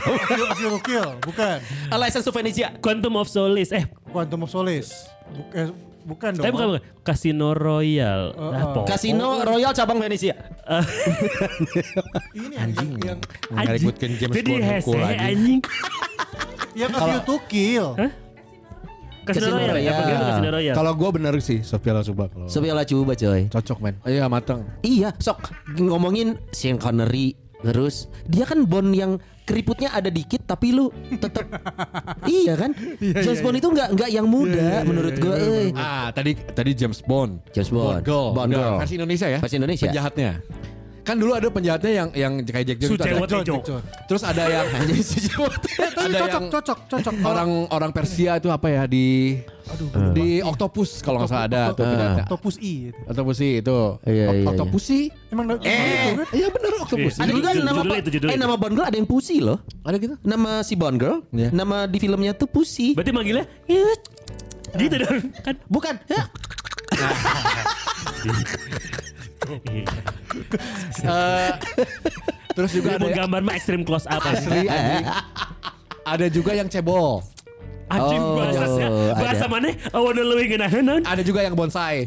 S4: Kill Kill, bukan.
S2: A License to Venesia.
S5: Quantum of Solace. Eh,
S4: Quantum of Solace. Buk- eh, bukan dong.
S5: tapi bukan bukan. Casino Royale.
S4: Oh,
S5: Ah,
S4: oh.
S5: pokok.
S2: Casino Royal cabang Venesia.
S4: Ini anjing yang
S3: Ngeributkan James
S5: Jadi
S3: Bond
S5: hese
S3: hukum lagi.
S5: anjing.
S4: yang kasih to kill.
S5: Casino
S2: Casino
S5: Royale.
S2: Royale.
S5: Apa gitu Casino Royale?
S3: Kalau gue bener sih Sofia Lasuba kalau
S2: Sobi Allah coba coy.
S3: cocok men. Iya matang.
S2: Iya, sok ngomongin Sean Connery terus dia kan Bond yang keriputnya ada dikit tapi lu tetep iya kan James
S3: iya.
S2: Bond itu nggak nggak yang muda menurut gue eh.
S3: Ah tadi tadi James Bond.
S2: James Bond.
S3: Bond Girl.
S2: Bond
S3: Enggak,
S2: Girl.
S3: Versi Indonesia ya.
S2: Versi Indonesia.
S3: Penjahatnya. Kan dulu ada penjahatnya yang yang kayak Jack Jones. itu ada.
S5: Sucewo Tejo.
S3: Terus ada yang
S4: Tapi
S3: ada
S4: cocok,
S3: yang
S4: cocok, cocok.
S3: orang orang Persia itu apa ya di di Octopus kalau nggak salah ada tuh penjahatnya.
S4: Topus I. gitu.
S3: Octopus sih itu.
S2: Iya,
S3: Oct-
S2: iya, iya.
S3: Octopus sih.
S4: Emang
S2: Eh.
S3: Iya bener Octopus.
S5: Iya.
S2: ada juga
S5: Judul-
S2: nama
S5: judulnya itu, judulnya
S2: eh
S5: itu.
S2: nama Bond Girl ada yang Pussy loh
S3: Ada gitu.
S2: nama si Bond Girl
S3: Iya.
S2: nama di filmnya tuh Pussy
S5: Berarti manggilnya gitu dong kan.
S2: bukan ya, Hah?
S5: Iya.
S4: Iya.
S3: Terus juga
S5: Dia
S3: ada
S5: mau gambar mah extreme close up.
S3: asli anjing. Ada juga yang cebol.
S5: Anjing
S2: Oh,
S5: bahasa
S2: ada.
S5: bahasa mana? I wanna lewing and I don't know.
S3: Ada juga yang bonsai.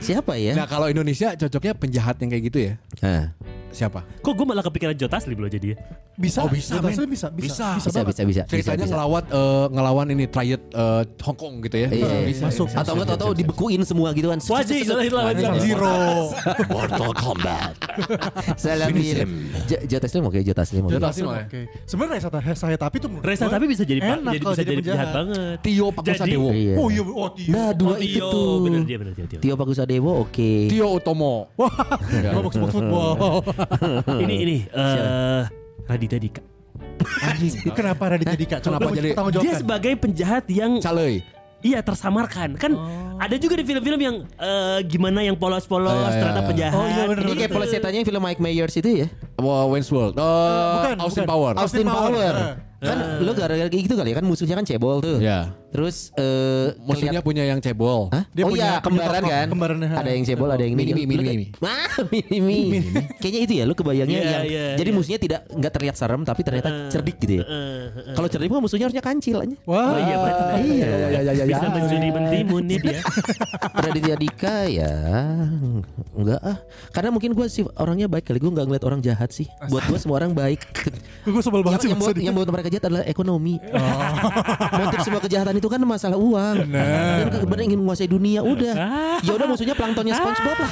S2: siapa ya
S3: Nah kalau Indonesia cocoknya penjahat yang kayak gitu ya.
S2: Ah.
S3: Siapa?
S5: Kok gue malah kepikiran Joe Taslim loh jadi ya.
S4: bisa.
S3: Oh, bisa,
S4: Betul,
S3: men.
S4: Bisa, bisa.
S3: Bisa.
S2: bisa
S4: banget.
S2: bisa bisa bisa,
S3: Ceritanya
S2: bisa.
S3: ngelawat eh, ngelawan ini triad eh, Hong Kong gitu ya.
S2: Iya, iya,
S3: Bisa,
S4: Masuk.
S3: bisa,
S2: atau
S3: bisa,
S2: enggak
S3: bisa,
S2: tahu
S3: bisa.
S2: dibekuin semua gitu kan
S5: Wajib salah itu lawan
S4: Jam
S5: Zero.
S4: Zero.
S2: Mortal Kombat. Salam Jim. J- Jota Slim oke, Jota Slim oke.
S3: Joe Taslim oke.
S4: Oke. Sebenarnya Reza Ta- saya tapi tuh menurut
S5: Reza
S4: gua
S5: tapi bisa jadi pak,
S4: enak
S5: jadi
S4: kalau
S5: bisa jadi penjahat banget.
S3: Tio
S5: Jadi-
S3: Pakusadewo.
S2: Iya.
S4: Oh iya, oh iya.
S2: Nah, dua
S5: Oh,
S2: itu
S5: Tio.
S2: tuh.
S5: Bener dia bener Tio. Tio.
S2: Tio Pakusadewo oke.
S3: Tio Utomo.
S4: Oh.
S3: Wah,
S4: Gua box box football.
S5: Ini ini eh Raditya Dika.
S4: Lu Kenapa Raditya Dika? Coba
S3: Kenapa jadi-
S4: tanggung
S5: Dia
S4: jawabkan.
S5: sebagai penjahat yang
S3: Calei.
S5: iya tersamarkan kan ada juga di film-film yang eh, gimana yang polos-polos
S3: Oh, iya, iya,
S5: ternyata
S3: iya.
S5: penjahat.
S4: Oh, iya, bener,
S2: Ini kayak
S5: gitu.
S2: pelesetannya film Mike Myers itu ya.
S3: Wah, Wayne's World. Eh,
S4: bukan,
S3: Austin
S4: bukan.
S3: Power.
S4: Aus-
S2: Austin
S4: Austin
S2: Power.
S4: Power.
S2: Kan lo gara-gara kayak gitu kali ya kan musuhnya kan cebol tuh.
S3: Iya.
S2: Terus eh
S3: Musuhnya
S2: keliat-
S3: punya yang cebol.
S2: Hah?
S4: Dia
S2: oh iya,
S4: punya- punya
S2: kembaran
S4: tokoh,
S2: kan.
S4: kembarannya.
S2: Ada yang cebol, ada yang ini.
S3: Mini, mini,
S2: Lu-
S3: mini.
S2: Ah, mini, mini. Kayaknya itu ya, lu kebayangnya
S5: Iya,
S2: yang
S5: iya,
S2: jadi
S5: iya.
S2: musuhnya tidak nggak terlihat serem tapi ternyata cerdik gitu ya.
S5: Eh, eh.
S2: Kalau cerdik mah musuhnya harusnya kancil aja.
S4: Wah.
S5: Oh iya benar.
S2: Iya, iya, iya, iya.
S5: Bisa mencuri mentimun nih dia.
S2: Raditya Dika ya Enggak ah Karena mungkin gue sih orangnya baik kali Gue nggak ngeliat orang jahat sih Buat gue semua orang baik
S4: Gue sebel banget sih
S2: yang, yang, buat,
S4: maksudnya. Oh.
S2: yang buat mereka jahat adalah ekonomi Motif semua kejahatan itu kan masalah uang Dan kebenaran ingin menguasai dunia Udah
S4: Nah.
S2: Ya udah musuhnya planktonnya Spongebob lah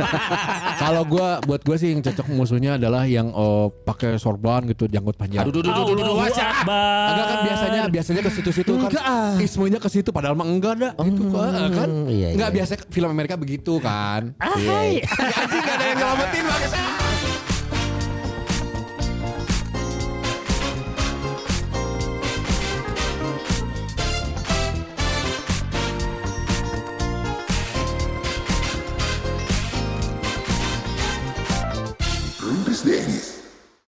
S3: Kalau gua buat gua sih yang cocok musuhnya adalah yang eh, pakai sorban gitu, janggut panjang.
S2: Aduh duh duh duh duh, duh, duh,
S5: Allahu
S2: wajar.
S5: Akbar.
S3: Agak kan biasanya biasanya ke situ-situ kan.
S2: Enggak, ah.
S3: Ismunya ke situ padahal mah enggak ada gitu kan. kan?
S2: iya,
S3: enggak
S2: iya.
S3: biasa film Amerika begitu kan.
S5: Ahai.
S8: Rumpis Dennis.